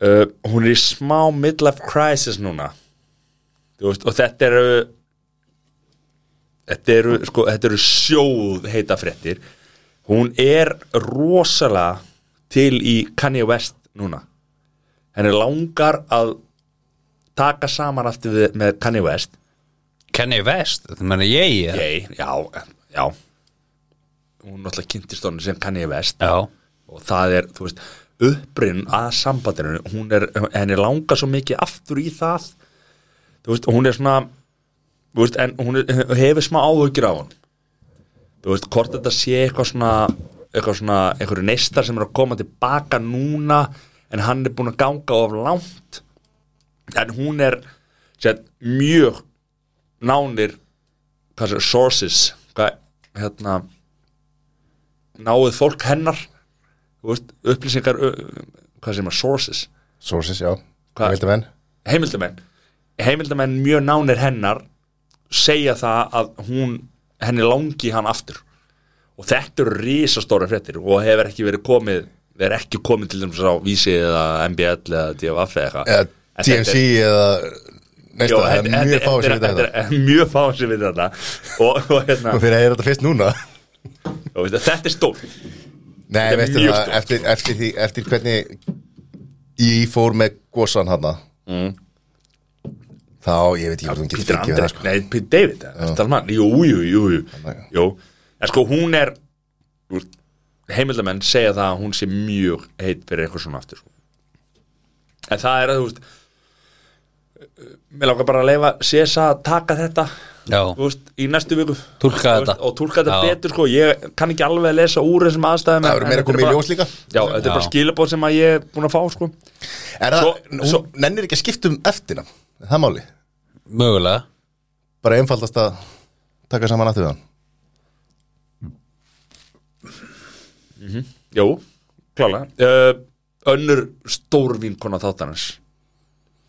uh, hún er í smá midlife crisis núna Þú veist, og þetta eru þetta eru, sko, þetta eru sjóð heita fréttir hún er rosalega til í Kanye West núna henni langar að taka saman aftur við, með Kanye West
Kenny West, þetta menna ég er
Jay, já, já hún náttúrulega kynntist honum sem Kanye West
Já,
og það er, þú veist, upprinn að sambandinu, hún er henni langar svo mikið aftur í það þú veist, hún er svona þú veist, en hún er, hefur smá áhugjur á hún þú veist, hvort þetta sé eitthvað svona eitthvað svona, einhverju neistar sem er að koma tilbaka núna en hann er búin að ganga of langt en hún er sér, mjög nánir hvað sem, sources hvað, hérna náið fólk hennar þú veist, upplýsingar ö- ö- hvað sem er sources
Sources, já
Hvað?
Hvað veitum enn?
heimildamenn heimildamenn mjög nánir hennar segja það að hún henni langi hann aftur og þetta eru risastóra fréttir og hefur ekki verið komið er ekki komið til þess að vísi eða MBL eða DFF eða eitthvað
Eða
En þetta er-
TMC eða Neist
Jó,
að það
þetta-
er mjög
þetta-
fáið sem við
þetta
þetta
er- mjög fáið sem við þetta og, og hérna,
Og fyrir að ég er þetta fyrst núna
og veistu, þetta er stór
Nei,
er
veistu
mjög
það
stórt.
eftir, eftir, því, eftir hvernig Ég fór með gósan hana mm. Þá, ég veit, ég voru ekki
Peter
fengið við
Andre,
það sko.
nei, Peter David Stalman, um jú, jú, jú, jú.
já.
jú en sko hún er þú veist, heimildamenn segja það að hún sé mjög heit fyrir eitthvað svona aftur sko. en það er að þú veist eh, mér langar bara að leifa Sesa að taka þetta
já,
þú veist, í næstu viku
Túlka
Þú veist,
þetta.
og túlka þetta
Já.
betur sko, ég kann ekki alveg að lesa úr þessum aðstæðum
Það
en- en
eru meira
þetta er
komið í
bara-
ljós líka
já, þetta er bara
Já.
skilabóð sem að ég er búin að fá sko.
Er það,
Svo-
hún
svo-
nennir ekki að skipta um eftirna Það máli,
mögulega
bara einfaldast að taka saman aftur við hann
Jú, klálega uh, Önnur stór vinkona þáttanans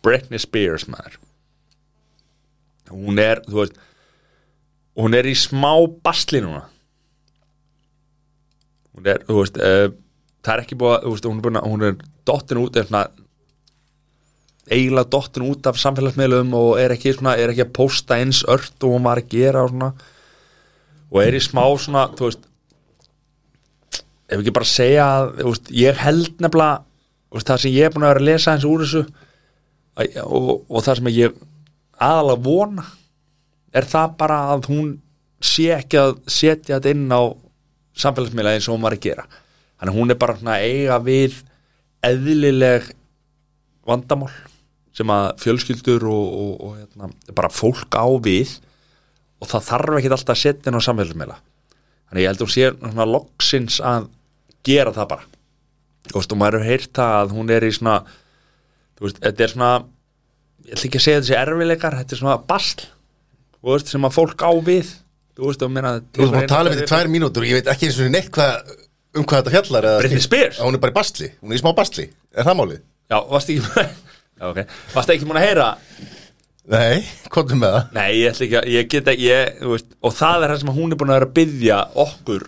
Britney Spears maður Hún er, þú veist Hún er í smá basli núna Hún er, þú veist uh, Það er ekki búið að, þú veist, hún er, búin að, hún er dottin út eða svona eiginlega dottin út af samfélagsmiðlum og er ekki, svona, er ekki að posta eins ört og hún var að gera og svona og er í smá svona, þú veist ef ekki bara segja að þú veist, ég held nefnilega þú veist, það sem ég er búin að vera að lesa eins úr þessu að- og, og það sem ég aðalega vona er það bara að hún sé ekki að setja þetta inn á samfélagsmiðla eins og hún var að gera þannig að hún er bara svona að eiga við eðlileg vandamál sem að fjölskyldur og, og, og hérna, bara fólk á við og það þarf ekki alltaf að setja inn á samfélagsmiðla Þannig ég held að hún sé svona loksins að gera það bara Þú veist, og maður hefur heyrt það að hún er í svona þú veist, þetta er svona ég ætla ekki að segja þessi erfileikar þetta er svona basl þú veist, sem að fólk á við þú veist, og meina
Þú erum að tala við í tvær mínútur Ég veit ekki eins og neitt hvað, um hvað þetta fjallar eða-
Britney Spears?
Hún er bara í basli, hún er í smá basli Er það málið?
já, varst ekki [laughs] já, ok, varst ekki múin að heyra
Nei, kontum með það
nei, ég ætla ekki að, ég get ekki ég, þú veist, og það er það sem hún er búin að vera að byggja okkur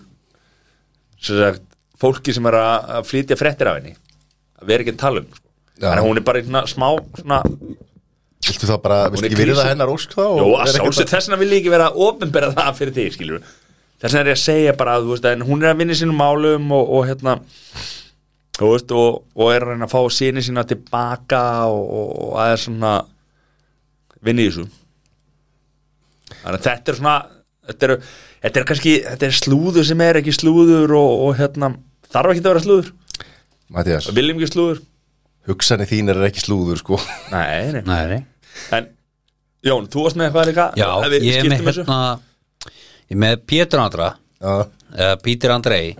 sem sagt, fólki sem er að að flytja fréttir af henni að vera ekki að tala um sko.
Já.
þannig að hún er bara í svona smá svona
Viltu Viltu þá bara, viltu
er
ekki virða
krísin.
hennar ósk þá? og
Jó, að
vera ekki
sjálfsög, þess vegna vil ég ekki vera ofinberða það fyrir þig, skilur Þess vegna er ég að segja bara, þú veist, en hún er að vinna í sínum málum og, og hérna Þú veist, og, og er að reyna að fá síni sína tilbaka og, og, og að er svona vinna í þessu Þannig að þetta er svona þetta er, þetta er kannski, þetta er slúður sem er ekki slúður og, og hérna þarf ekki að vera slúður,
að- Matthías,
viljum ekki slúður
hugsanir þínar er ekki slúður sko
Nei, nei,
Nei, nei
en Jón, þú varst með eitthvað líka
Já,
Að við
ég er
skiptum
með
þessu?
hérna Ég er með Pétur Andra
Já,
eða Pítur Andrei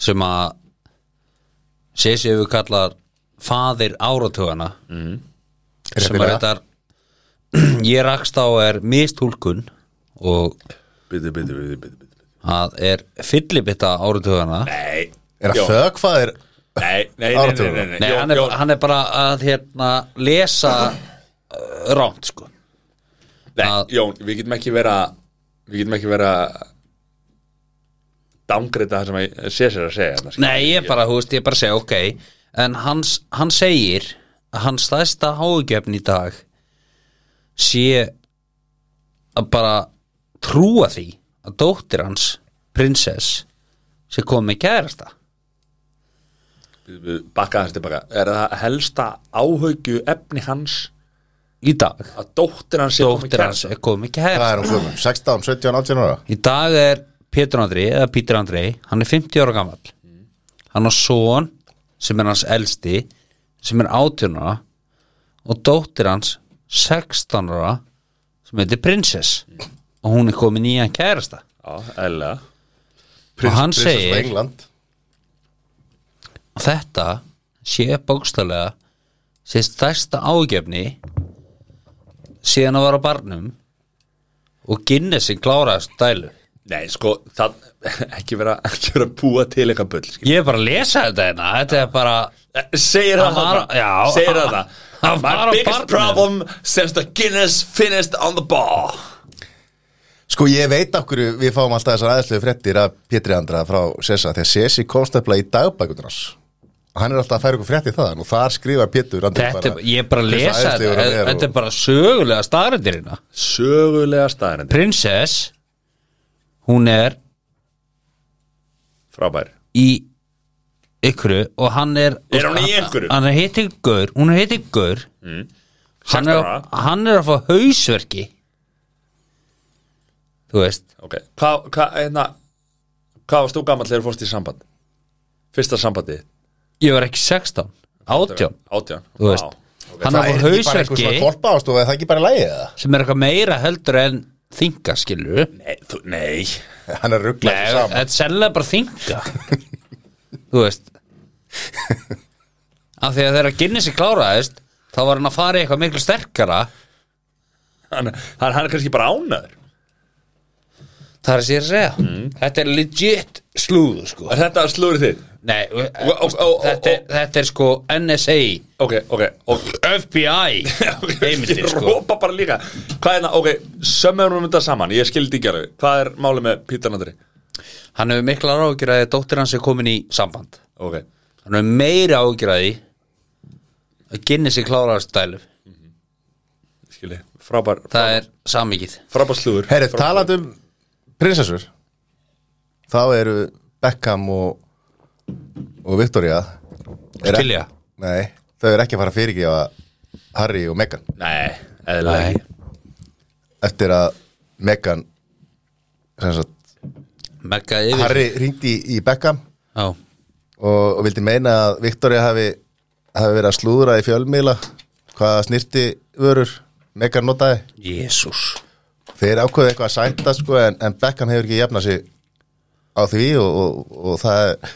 sem að Sessi hefur kallar faðir áratugana
Mhm.
sem að
réttilega.
reyndar [clears throat] ég rakst á er mistúlkun og
Bíddu, bíddu, bíddu, bíddu, bíddu.
að er fyllibitta áratugana
Nei
Er
Jón,
það þögfæðir?
Nei, nei, nei, nei,
Áratugum.
nei, nei.
Nei,
Jón,
hann er,
Jón,
hann er bara að hérna lesa uh, rámt sko
nei,
að-
Jón, við getum ekki vera Við getum ekki vera Dangreita það sem að César er að segja annars.
Nei, ég bara, þú veist, ég bara segja, ok En hans, hann segir að hans stærsta háðgefn í dag sé að bara trúa því að dóttir hans, prinsess sé komið með kærasta
Við- við Bakka hans tilbaka Er það helsta áhaugju efni hans
í dag
Að dóttir hans sé komin
Dóttir hans
kærasta?
er komið með
Hvað
kærasta
er hún gömum? 16, 17, 18 ára?
Í dag er Pétur Andri eða Pítur Andri, hann er 50 ára gamall hann á son sem er hans elsti sem er 18 ára og dóttir hans 16 ára sem heitir prinsess og hún er komin í hann kærasta
Já, eðlilega
og hann
Prinsessa frá
segir
England
að þetta sé bókstælega sé stærsta ágefni síðan að vara barnum og Guinnessin kláraðast dælu
Nei, sko, það [laughs] Ekki vera, ekki vera að búa til eitthvað bull skil.
ég er bara að lesa þetta hérna þetta er bara
Segir það
Hann var-
þarna?
já,
Segir það
hann-
það
[laughs] hann var
My
á
biggest
barnum.
problem Since the Guinness finished on the bar
Sko ég veit okkur við fáum alltaf þessar aðeinslegu fréttir af Pétri Andra frá Sessa Þegar Sessi komst nefnilega í dagbækundunars Hann er alltaf að færa ykkur frétti þaðan og þar skrifar Pétur Andri
Þetta, er- ég er bara að
hversu
lesa
æðislegur
þetta
hann er
Þetta er
og-
bara sögulega staðrendirina
Sögulega staðarind
Prinsess Hún er
Frábær
í ykkuru og hann er
Er hún í einhverju?
Hann er hitt ykkur, hún er hitt ykkur mm. hann,
16
er,
ára.
hann er að fá hausverki Þú veist
Ok, hvað hva, hérna, hva varst þú gamall þegar þú fórst í samband? Fyrsta sambandi
Ég var ekki 16, 18
Átján
Þú veist Hann er
Það er ekki
að fá
bara eitthvað
hausverki
svona kolpa ástofa, það er ekki bara lægið það
sem er eitthvað meira heldur en þinga skilur
Nei, þú, nei
Hann er rugglað
Nei,
sér saman
þetta er sennilega bara þinga
[laughs]
Þú veist Af því að þegar Guinness er kláraðist þá var hann að fara í eitthvað miklu sterkara
hann, hann, hann er kannski bara ánaður
Það er sér að segja
Mm.
Þetta er legit slúðu sko
Er þetta slúrið þið?
Nei,
og- og- og-
þetta, er, þetta er sko NSA
Ok, ok, ok [laughs]
FBI heimildir
Ég
sko
rópa bara líka Hvað er það, ok, sömmeðum við þetta saman Ég skildi ekki alveg Hvað er málið með Pítan Andri?
Hann hefur mikla ágjur að dóttir hans er komin í samband
Ok,
Hann hefur meira ágjur að því að Guinness er kláraðist dælu
skildi Frábær,
Það er samikið
frábær slúður
Herri, talandi um prinsessur Þá eru Beckham og, og Victoria er ekki-
Skilja.
Nei, þau eru ekki að fara að fyrirgefa Harry og Meghan
Nei, eðlilega
Nei.
ekki
Eftir að Meghan sem sagt,
Megga yfir
Harry ringdi í, í Beckham
Já
og, og vildi meina að Victoria hafi, hafi verið að slúðra í fjölmiðla hvað snirti vörur Meghan notaði
Jésús
Þeir ákveðu eitthvað að sætta sko en, en Beckham hefur ekki jafnað sig á því og, og, og það er-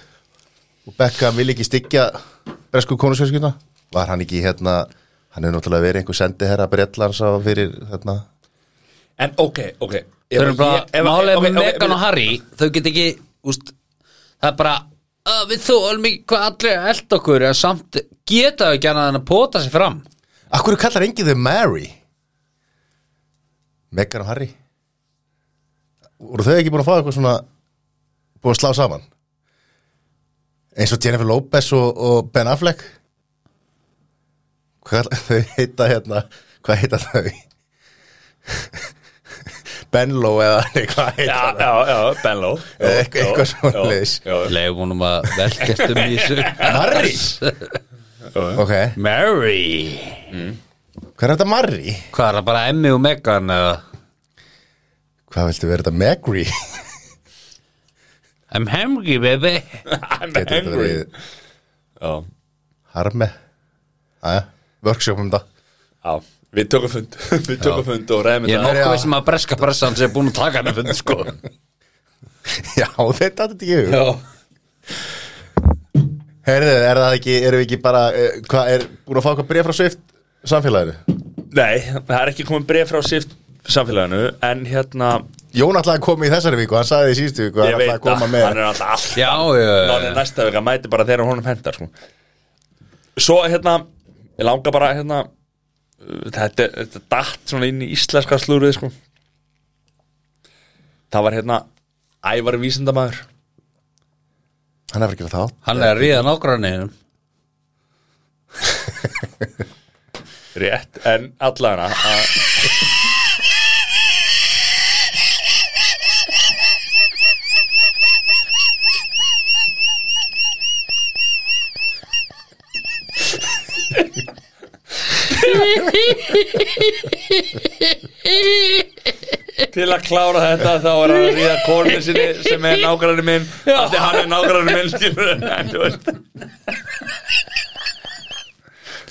og Beckham vil ekki styggja bresku konusfjörskipna var hann ekki hérna hann hefur náttúrulega verið einhver sendiherra brellans á fyrir hérna
En ok, ok
Þau eru bara,
Ef- ef-
málið
ok,
með
ok,
Megan og Harry Þau get ekki, úst Það er bara, að við þólum ekki hvað allir að elda okkur En samt geta þau ekki annað en að pota sér fram
Akkur kallar enginn þau Mary Meghan og Harry voru þau ekki búin að fá eitthvað svona búin að slá saman eins og Jennifer [laughs] Lopez og, og Ben Affleck hvað, þau heita hérna hvað heita þau [laughs] Benlo eða nei, hvað heita
Já, já, já, Benlo
Eða eitthvað- eitthvað svoleiðis.
Leifum honum að velkjast um í þessu
Marri
svoleiðis
ok,
Mary
hvað er þetta Marri?
Hvað er það bara Emmy og Megan eða
hvað viltu vera þetta Megri?
I'm hungry baby
I'm
Gæti þetta
angry
verið
Já,
Harme aðja, workshop um þetta
já, við tökum fund [laughs] Við tökum fund og ræðum
Ég er
þetta
nokkuð
Já.
veist sem að breska pressan sem er búin að taka henni fund sko
já, þetta er þetta ekki hug
Já
Heyrðu, er það ekki, erum við ekki bara, uh, hvað er, búin að fá eitthvað bregð frá Swift samfélaginu?
Nei, það er ekki komið bref frá sift samfélaginu En hérna,
Jón ætlaði að koma í þessari viku, hann sagði því í síðustu viku, hann
ég
ætlaði að
veit að
koma
hann
með. Eh.
er alltaf alltaf
Já, já,
Náni næsta vika mæti bara þegar honum hendar sko. Svo hérna Ég langa bara hérna uh, Þetta, þetta datt svona inn í íslenska slúrið sko. Það var hérna Ævar vísindamaður
Hann hefur ekki verið þátt.
hann er að ríða nágranninum
Rétt, en allavega að Til að klára þetta þá er hann að ríða konu sinni sem er nágrænir minn af því hann er nágrænir minn skilur en þú veist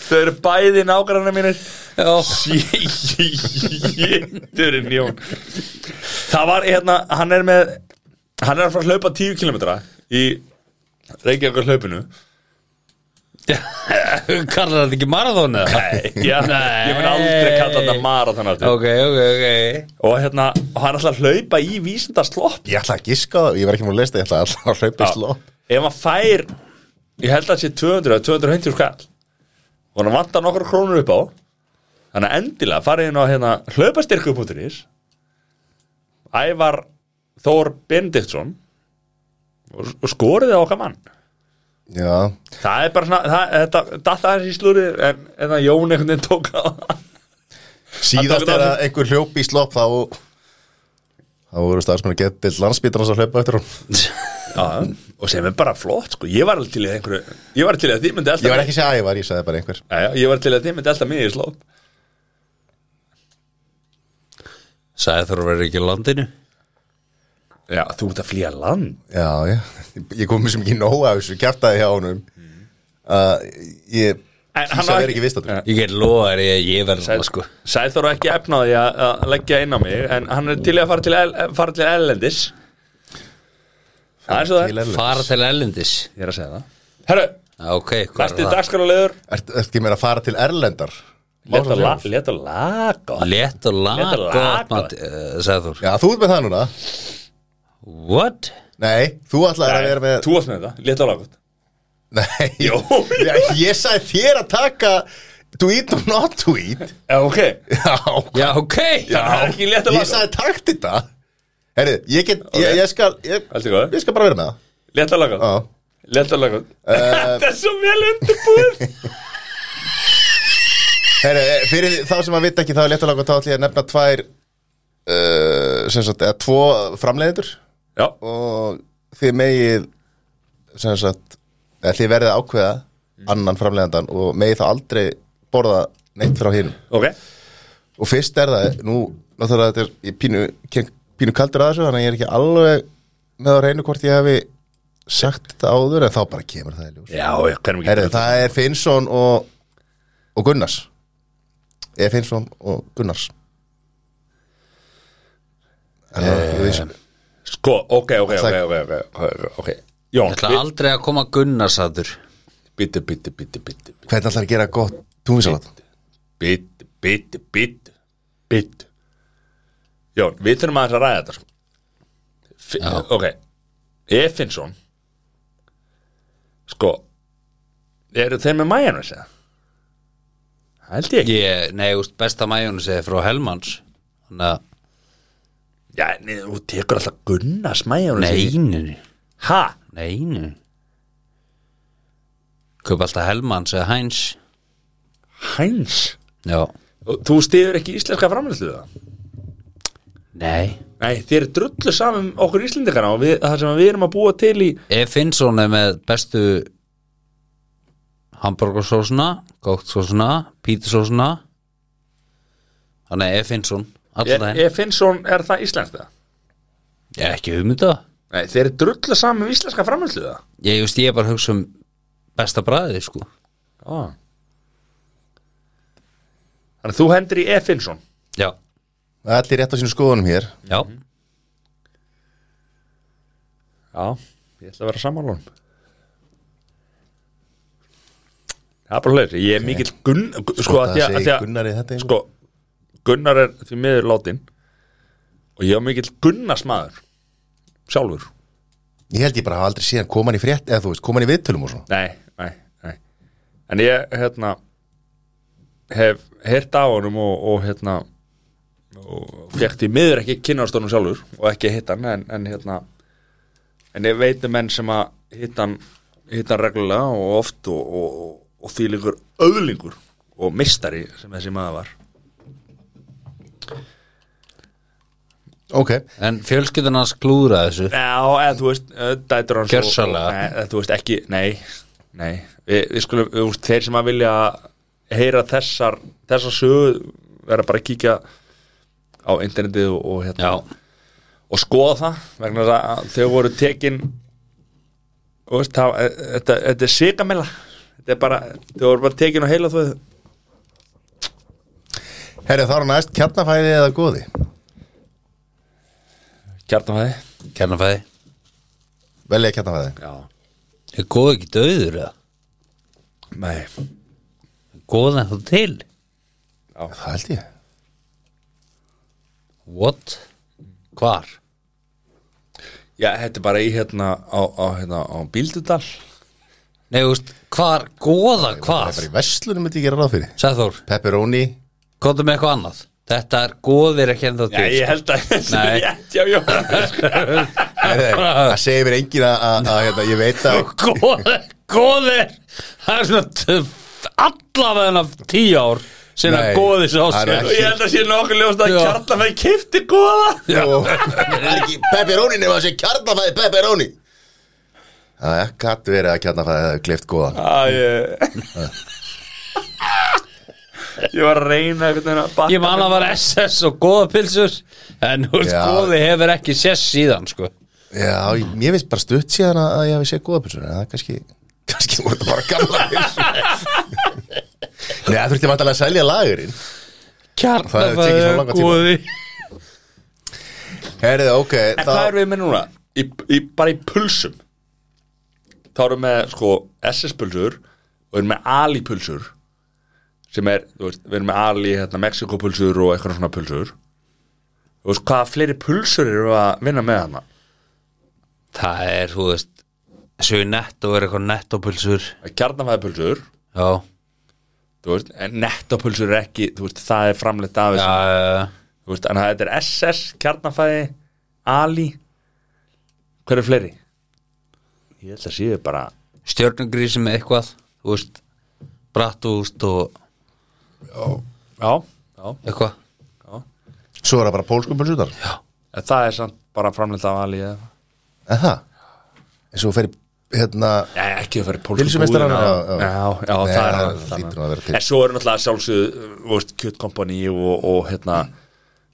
Þau eru bæði nágrænir mínir
Já,
Jéturinn Jón Það var hérna, hann er með Hann er að fara að hlaupa 10 km Í Reykjavík hlaupinu
kallar þetta ekki marathon eða?
[laughs] Já, Ég mun aldrei kalla þetta marathon aftur
Ok, ok, ok
Og hérna, og hann er alltaf að hlaupa í vísindaslopp
Ég ætlaði að giska það, ég var ekki múin að lesa það, ég ætlaði alltaf að hlaupa í sló.
Ef hann fær Ég held að það sé 200 eða 250 skall Og hann vantar nokkra krónur upp á Þannig að endilega farið inn á hérna Hlaupastyrku.is Ævar Þór Bendiktsson og, og skorið á okkar mann
Já,
Það er bara svona, það, þetta, þetta er í slúri en, en að Jón einhvern veginn tók á Hann tók
síðast
þetta
er
á
að einhver hljópi í sló, þá, þá voru starfsmenn að geta til landsbytarnas að hlaupa eftir hún.
[laughs]
Já, og sem er bara flott sko. ég var alveg til í einhverju ég var til í að þið myndi
Ég
alltaf
var ekki að segja ævar, ég sagði bara einhver.
já, já, ég var til í að þið myndi alltaf mig í slóp
Sæði þú að vera ekki í landinu
Já, þú ert að flýja land
Já, já, ég kom mér sem ekki nóg af þessu, kjartaði hjá honum. Uh, ég,
Mm. En hann á
kýsa að
ekki-
vera ekki vistatur.
Ég get lofa þér í að ég verð það sko
Sæþór er ekki efnaði að að leggja inn á mig en hann er til í að fara til, el, fara til ellendis Það er svo það er.
Til Erlends.
Fara til Ellendis
Ég er að segja það Herru,
Já, Ok, hvað
besti
er það?
dagskarulegur
Ertu ert ekki meira að fara til Erlendar?
Leta
Málsins
la,
ljós.
lét og laga
Létt og eh,
Létt og lag.
lag Sæði þú
Já, þú ert með það núna
What?
Nei, þú ætlaði að vera með
Þú varst með þetta, leta og laga
Nei,
Jó.
Já, ég sagði þér að taka Tweet og not tweet
Ok,
Já,
Já, ok
Já. Það er ekki létt að laga.
Ég sagði takt þetta Herri, ég get, ég, ég skal ég,
allt í góð
ég skal bara vera með það
Leta og laga
Já.
Leta og laga [laughs] Þetta er svo vel undirbúið
Herri, fyrir þá sem að vita ekki þá er létt að laga þá ætla ég að nefna tvær uh, sem sagt, eða tvo framleiðendur
Já,
og þið megið sem sagt eða þið verðið að ákveða annan framleiðandan og megið þá aldrei borða neitt frá hinn
ok
og fyrst er það, nú náttúrulega þetta er ég pínu, kem- pínu kaldur að þessu þannig að ég er ekki alveg með á reynu hvort ég hefi sagt þetta áður en þá bara kemur það í ljós
Já, já, hvernig
Herri, það er Finnsson og, og Gunnars eða Finnsson og Gunnars Er það ekki viss?
Sko, ok, ok, ok, ok, ok, ok Jón,
Ég ætla aldrei að koma Gunnarsadur
bitti, bitti, bitti, bitti
Hvernig ætlar að gera gott túnvísalat?
Bitt, bitt, bitt Bitt Jón, við þurfum aðeins að ræða þetta sko. F- Ok Efinsson Sko Eru þeir með mæjanum þessi? Held ég ekki
Ég, nei, úst, besta majónu segði frá Helmans Þannig að
Já, nei, þú tekur alltaf Gunnars mæjanum
Neininu
Ha?
Neininu Kaup alltaf Helmans eða Heinz
Hæns?
Já
Og Þú stiður ekki íslenska framhaldsliða?
Nei
Nei, þér er drullu saman um okkur íslendikana og við, það sem við erum að búa til í
Ef Finnsson er með bestu hamburgersósuna góktsósuna, pítisósuna Þannig að ah, ef Finnsson
Er,
allan daginn,
er Finnsson, er það íslenskt það?
ég er ekki hugmynda
Nei, þeir eru drullu saman um íslenska framhaldsliða
Ég veist ég er bara að hugsa um besta bræði sko
ah. Þannig að þú hendur í E. Finnsson
Já,
Allir rétt á sínu skoðunum hér
já,
Mhm.
Já, ég ætla að vera samanlónum Það er bara hlur, ég er mikill gunn, gun, sko, að
Það
því að, að, því
segir
að
Gunnari þetta einhver.
sko, Gunnar er því miður látin og ég á mikill Gunnars maður sjálfur
Ég held ég bara hafa aldrei síðan koman í frétt eða þú veist, koman í viðtölum og svona
nei, nei, nei en ég hérna hef heyrt á honum og, og hérna og fekk því miður ekki kynast honum sjálfur og ekki hitt hann en, en hérna en ég veit um menn sem að hitt hann hitt hann reglulega og oft og, og, og, og því líkur öðlingur og mistari sem þessi maður var
Ok,
en fjölskyldan hans klúðra þessu
Já, eða þú veist, eh, dætur hans og-
Gjörsamlega.
og- Nei, eða þú veist ekki, nei, nei Við, við skulum, við, veist, þeir sem að vilja heyra þessar, þessar sögu vera bara að kíkja á internetið og, og hérna
Já,
og skoða það vegna þess að þau voru tekin og veist, það, eh, þetta, þetta er sigamela þetta er bara, þau voru bara tekin og heila þú
herri þá er næst kjarnafæði eða góði
kjartanfæði
kjarnafæði
Velja kjarnafæði
Já,
Er góð ekki döður eða?
nei,
Er Góð en þú til?
Það held ég
What? Hvar?
já, þetta er bara í hérna á, á, hérna, á Bíldudal
Nei, þú veist, hvar?
Það
Góða
er
hvað?
bara í verslunum myndi ég gera ráð fyrir
Sæþór,
Pepperoni
komdu með eitthvað annað Þetta er góðir ekki ennþá
Já,
til
ég held að þessi [laughs]
Nei.
er rétt hjá
[laughs]
Jóhannes
Herri, Það segir mér engin að, að, að hérna, ég veit að
Góðir, góðir Það er svona t- allavega tíu ár sem að
Nei,
góði sá
það er
sér
Ég held að sé nokkuð ljóst að
Já.
kjarnafæði kifti góða
og það er ekki pepperoni nema þessi kjarnafæði pepperoni Það er katt verið að kjarnafæði hefði kleift góðan
Æ, ég Ég var að reyna einhvern veginn að bakka
Ég man að var SS og góða pilsur en þú veist,
Já.
góði hefur ekki sess síðan sko.
Já, ég- mér finnst bara stutt síðan að að ég hafi séð góða pilsur en það er kannski, [laughs] kannski voru það bara gamla pilsur [laughs] Nei, það þurfti vantalega að selja lagurinn Það hefur tekið svo
Kjarnafæði
langan tíma.
góði
Herrið, ok
En hvað erum við með núna? Í, í, bara í pulsum Þá erum við með sko SS-pulsur og erum með Ali-pulsur sem er, þú veist, við erum með Ali hérna, Mexiko-pulsur og eitthvað svona pulsur Þú veist, hvaða fleiri pulsur eru að vinna með hana?
Það er, þú veist Svo í netto er eitthvað nettopulsur
Kjarnafæði pulsur
Já,
þú veist, en nettopulsur er ekki þú veist, það er framleitt af
já,
þessu
já
þú veist, en þetta er SS, kjarnafæði Ali hver er fleiri? ég held að séu bara
Stjörnugrísi með eitthvað Þú veist, brattúst og
já, já,
eitthvað
Svo er það bara pólskum pilsutar
en það er samt bara framleitt af Ali eða
En það En svo fer í, hérna
Nei, ekki að fara í
Pylsumeistarar,
búðina.
já, já.
já, já,
Nei,
það er
það
annað,
hlýtur
annað.
að vera til.
en svo er náttúrulega sjálfsögðu, þú veist, kjötkompani og, og hérna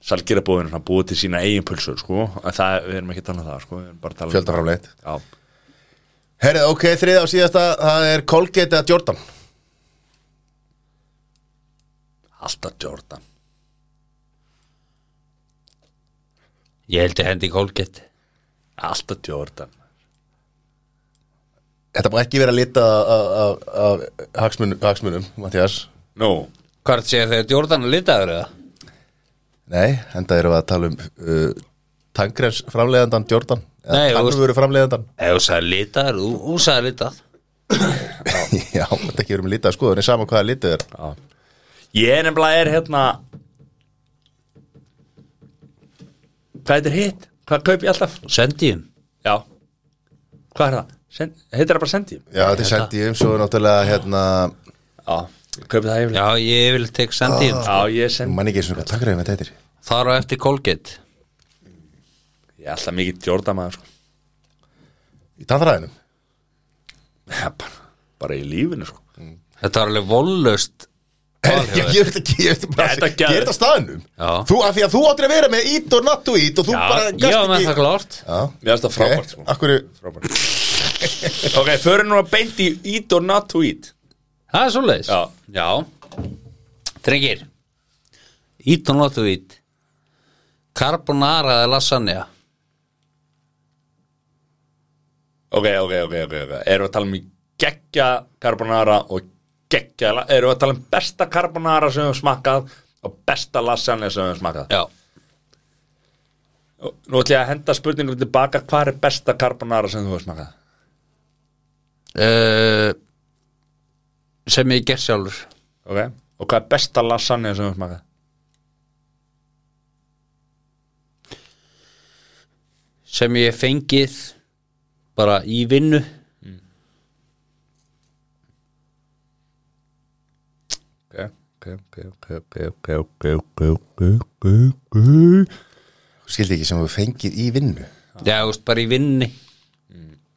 salgerabúðin, hann búið til sína eigin pulsur sko, en það, við erum ekki að tala um það sko, við erum bara að tala um-
Fjöldarframleitt
já,
Herrið, ok, þriða og síðasta Það er Colgate eða Jordan
alltaf Jordan
Ég held ég hendi í kólgett
alltaf Jordan
Þetta má ekki vera lita af- af af- af hagsmunum, hagsmunum Mattias
nú,
Hvað er þetta að segja þegar Jordan er litaður eða?
Nei, enda erum við að tala um uh, tangrens framleiðandan Jordan
Nei, þú veist-
Tangruvöru framleiðandan
Ef þú sagði litaður, þú- þú sagði litað
[laughs] Já, þetta ekki verið með lítið að skoða, en sama hvaða lítið er
Já. Ég er nefnilega er hérna Hvað er hitt? Hvað kaup ég alltaf?
Sendi ég
Já Hvað er það? Sen, heitir það bara sendjum?
Já, þetta er
Þetta.
hérna, sendið um svo er náttúrulega hérna,
Já Kaupið það yfirlega
Já, ég vil tek sendi inn
Já, ég sem
Man ekki eins og hvað takraði með þetta heitir
Það eru Ah. eftir Colgate
Ég er alltaf mikið djórnamaður sko.
Í tannþræðinum
Já, bara, bara í lífinu sko.
Þetta var alveg vollust
[laughs]
[laughs]
Ég ég veit ekki, ég veit ekki bara
Þetta
Ég er
gerði-
þetta á staðnum
Já.
Þú, af því að þú áttir að vera með ít og nattu ít Og þú
Já,
bara
ég var með það klárt
Já,
Mér er þetta frábært sko.
Akkur
Frábært Ok, förum nú að beint í eat or not to eat
Það er svoleiðis
Já.
Já Drengir Ít og notu ít Carbonara eða lasagna
Ok, ok, ok, ok, ok Erum við að tala um í geggja carbonara og geggja la- Erum við að tala um besta carbonara sem við höfum smakkað og besta lasagna sem við höfum smakkað
Já
Og Nú ætlum ég að henda spurningum tilbaka Hvað er besta carbonara sem þú höfum smakkað?
uh, Sem ég ger sjálfur
Ok Og hvað er besta lasagna sem við höfum smakkað?
Sem ég hef fengið Bara í vinnu
Ok, ok, ok, ok, ok, ok, ok, ok, ok, ok, ok
skildi ekki sem þú fengið í vinnu
Já, þú veist, bara í vinnu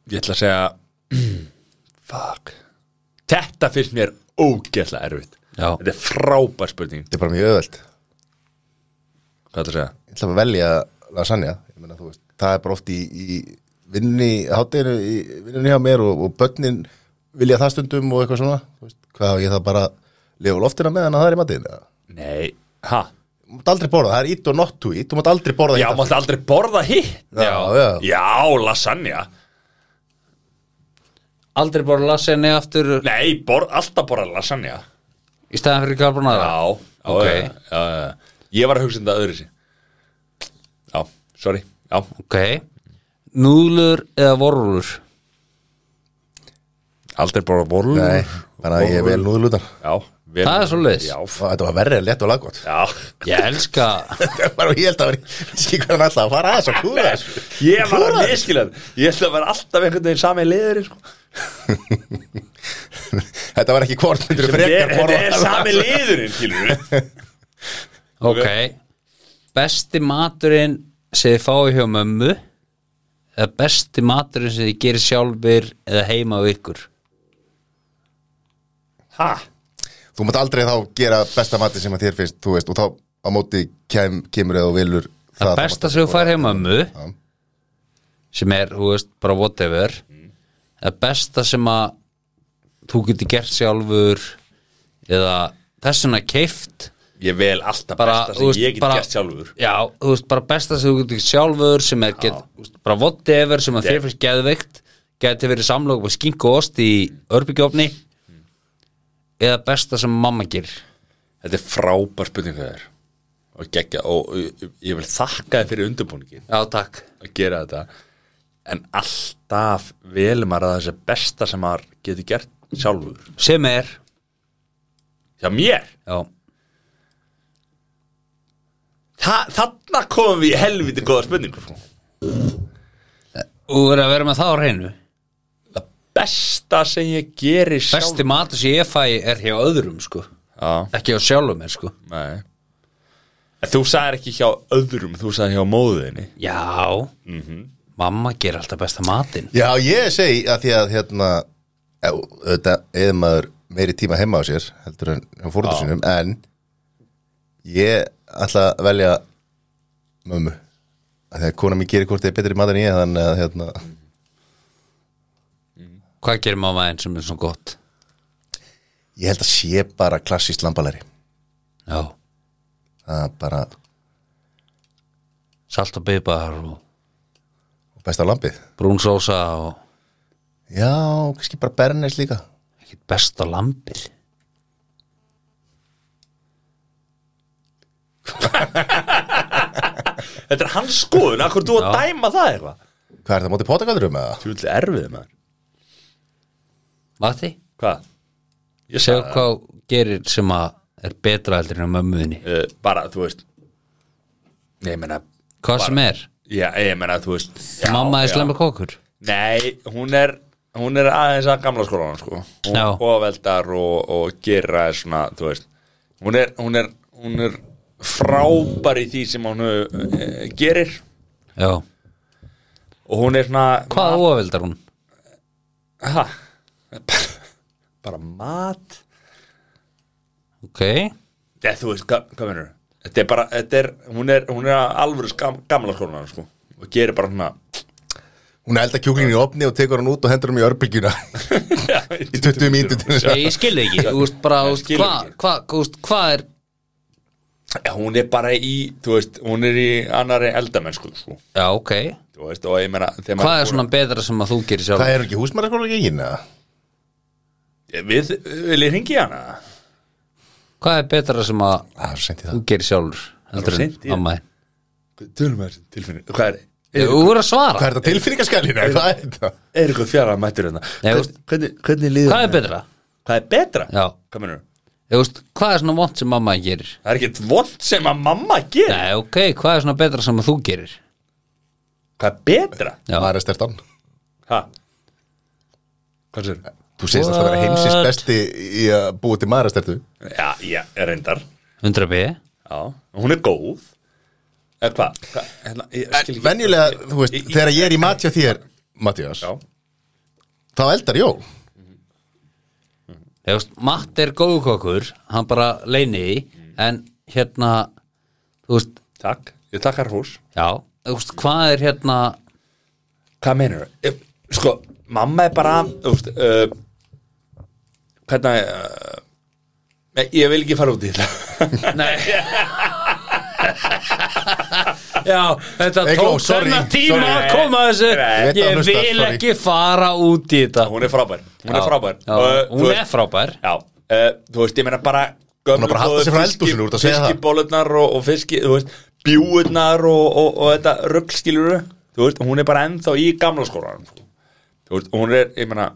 Ég ætla að segja [clears throat] Fuck Þetta finnst mér ógeðslega erfitt
Já.
Þetta er frábær spurning
Þetta er bara mjög öðvöld Ég
Hvað ætla að segja?
ætla bara að velja lasagna Ég meina, þú veist, það er bara oft í, í vinnunni Hátteginu í vinnunni hjá mér Og, og börnin vilja það stundum og eitthvað svona Þú veist, Hvað á ég það bara að Lifa á loftina með hann að það er í matinn eða?
Nei Ha?
Þú mátt aldrei borða, það er ít og not to eat Þú mátt aldrei borða
Já,
hitt
máttu aldrei borða hitt
Já, já.
Já, lasagna
Aldrei bara lasagna aftur
Nei, bor, alltaf borða lasagna
Í staðan fyrir carbonara
Já,
Ok.
já, já, já. Ég var að hugsa um þetta öðru sér Já, sorry Já,
Ok Núðlur eða vorulur
aldrei borða borlu
Nei, bara að ég vel núðlutar
Já, vel
Það er svoleiðis.
Já, f-
Þetta var verrið, lett og laggott [laughs]
já
Ég elska
Bara ég held að vera, skil hvað hann alltaf að fara aðeins og kúra þessu.
Ég var
Kúra
að
þessu.
miskilað Ég ætla að vera alltaf einhvern veginn sami liður sko.
Þetta var ekki hvort myndur
Sem er-
frekar
Þetta
borða
er sami liðurinn, skilur við
[laughs] Ok Besti maturinn sem þið fáið hjá mömmu eða besti maturinn sem þið gerir sjálfur eða heima á ykkur
Ha?
Þú mátt aldrei þá gera besta mati sem að þér finnst, þú veist Og þá á móti kem, kemur eða og velur
Það, besta sem þú fær hjá mömmu sem er, þú veist, bara whatever eða besta sem að þú getur gert sjálfur eða þessuna keift
Ég vel alltaf
bara,
besta
þú
sem ég get
bara-
gert sjálfur
Já, þú veist, bara besta sem þú getur gert sjálfur sem er, get, þú veist, bara whatever sem að þér fyrst geðveikt geti verið samlóku með skink og ost í örbyggjófni Mm. eða besta sem mamma gerir
Þetta er frábær spurning hvað það er og geggja og og ég vil þakka þið fyrir undirbúningin
Já, takk
að gera þetta en alltaf velur maður að þessi besta sem maður getur gert sjálfur
sem er,
Já, mér
já,
Þa, Þarna komum við í helviti góða spurningu sko.
þú verður að vera með það á reynu
Það besta sem ég geri sjálfur
besti matur sem ég fæ er hjá öðrum sko,
Já
ekki hjá sjálfum mér sko
Nei En þú sagðir ekki hjá öðrum, þú sagðir hjá móðinni
Já Mhm. mamma gerir alltaf besta matinn
Já, ég segi að því að hérna já, Auðvitað, eða maður meiri tíma heima á sér Heldur en hjá fórhundur sínum En ég ætla að velja mömmu Af Því að kona mér gerir hvort þið er betri matur en ég Þannig að hérna
Hvað gerir mamma einn sem er svona gott?
Ég held að sé bara klassískt lambalæri
Já,
Það er bara
salt og beibar og
og besta lampið
brún sósa og
Já, kannski bara bernes líka
ekkert besta lambir
Þetta er hans skoðun, akkur þú að dæma það eitthvað
Hvað er það mótið potakaldurum með það?
Þú vil erfið maður
Mati,
Hvað? Ég
segðu
sagði
hvað þú gerir sem að er betra heldur en á mömmuðinni
uh, Bara, þú veist Nei, ég meina
Hvað sem er?
Já, ég meina, þú veist já,
mamma er
já.
slemma kókur
Nei, hún er hún er aðeins að gamla skólanum sko hún
Já.
ofeldar og, og gera svona, þú veist hún er, hún er, hún er frábær í því sem hún uh, gerir
já
og hún er svona
Hvað óafildar hún?
ha, [laughs] bara, bara mat
Ok
eða þú veist, hvað, hvað mennur þetta er bara, þetta er, hún er, hún er alvöru skam, gamla skólanum sko og gerir bara svona
Hún elda kjúklingin í opni og tekur hann út og hendur hann í örbylgjuna [laughs] í 20 mínútur til þess að
Ég, ég skilði ekki, þú veist bara, þú veist,
skil
hvað
ekki.
hva, hva, hva er
Já, hún er bara í, þú veist, hún er í annari eldamennsku sko,
Já, ok,
þú veist, og ég meina þegar maður-
hvað er svona betra sem að þú gerir sjálf?
Það er ekki húsmæraskóla ekki eða?
Eh, Við, vil ég ringi hana?
Hvað er betra sem að
Það er sent í
þú
það
gerir sjálfur?
Það
Heldur
er
en
seint í-
mamma þín?
Tölum við þessum tilfinning Hvað er,
Þú voru að svara,
Hvað er þetta tilfinningaskælinu? Hvað er þetta?
er eitthvað fjara mættur hérna?
Nei,
Hvern- Hvernig, hvernig líður
hvað er
henni?
betra?
Hvað er betra?
Já,
Hvað mennur?
þú veist, hvað er svona vont sem mamma þín gerir?
Það er ekkert vond sem að mamma gerir
Nei, ok, hvað er svona betra sem að þú gerir?
Hvað er betra?
Já,
Það er stertan
Ha? Hvað sér?
Þú segist alltaf að vera heimsins
What?
besti í að búa til marastertu
Já, já, reyndar
100 B
Já, hún er góð Eða hvað? Hva? Hérna, ég skil ekki
Venjulega, þú veist,
Í- í-
þegar ég er í matja þér Matjas,
Já,
þá eldar Jól
Þú veist, Matt er góðu kokkur, hann bara leini í En hérna, þú veist,
takk Ég takkar hús
já, þú veist, hvað er hérna
Hvað meinar þau? Sko, mamma er bara þú veist, uh, Hvernig uh, nei, Ég vil ekki fara út í þetta [laughs]
Nei [laughs] Já, þetta
Eygló,
tók
sorry,
þennan tíma
sorry.
að koma að þessu
Nei,
ég veit að
Ég
hún hlustar,
vil
sorry.
ekki fara út í þetta
Hún er frábær Hún er
Já,
frábær
já,
Og, þú
Hún
veist-
er frábær
Já, uh, þú veist, ég meina bara
Hún er bara að halda sig frá eldhúsinu, þú ert að segja það.
Fiskibólurnar og, og fiski, þú veist Bjúurnar og, og, og þetta ruggskilur Þú veist, hún er bara ennþá í gamla skólanum sko. Þú veist, hún er, ég meina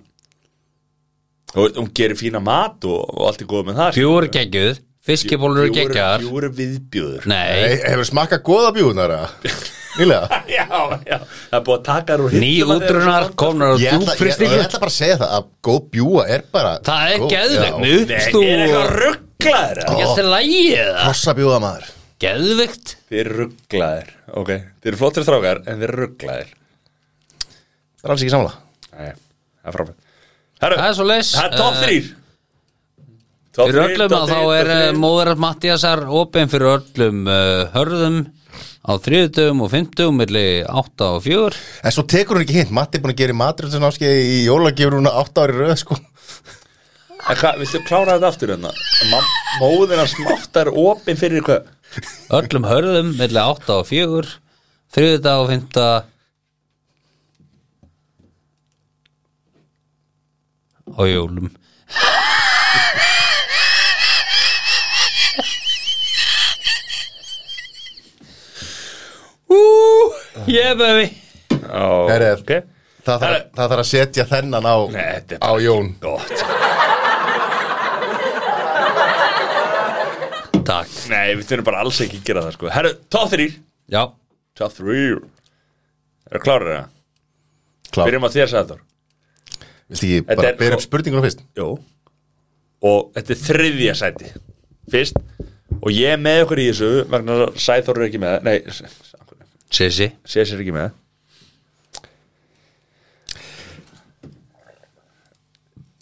Þú veist, hún gerir fína mat og, og allt er góð með það sko.
Bjúr geggjuð, fiskibólur
Bjúgur-
geggjar
bjúgur er viðbjóður
Nei,
Hey, Hefur smakkað goðabjúðunar
[laughs]
Nýlega
[laughs] Já, já, það er búið að taka þær úr
ný
hillum að þeir eru
útrunar
svona-
komnar
ég
á
ætla, ég, ég
djúfristingu
ætla bara að segja það að góð bjúa er bara
Það er
góð,
geðvegt
já.
Nei, er eitthvað
Nú,
rugglaður
þú Þetta er lægið
Hrossabjúða maður
Geðvegt
Þeir eru rugglaður, ok Þeir eru flottir strákar, en þeir eru rugglaður
Það er alls ekki samla
Nei, það er frábært Herru,
Það er svo leys
það er top 3
Fyrir öllum að þá er eh, móðurat Mattiasar opinn fyrir öllum uh, hörðum á þriðutum og fimmtum milli 8 og 4
En svo tekur hún ekki hint, Matti er búin að gera matriðsnáskið í jólagjöfur hún átt ári röð sko
En hvað, viltu klára þetta aftur hérna? Ma- Móðir hans máttar opinn fyrir hvað?
öllum hörðum milli 8 og 4 þriðuta og fimmta 5 á jólum Ú, yeah baby
Oh,
Herru,
ok.
það, þarf,
Herru.
það þarf að setja þennan á,
Nei, þetta er
á Jón
Gott
Takk,
Nei, við þurfum bara alls ekki að gera það sko Herru, top 3
já,
Top 3 Er það klárar það?
Klár.
Byrjum á þér, Sæður
Viltu ekki
Þetta
bara
er-
byrja upp spurningunum fyrst?
Jó Og þetta er þriðja sæti Fyrst Og ég er með okkur í þessu vegna þess að Sæþór er ekki með Nei,
Sissi
Sés er ekki með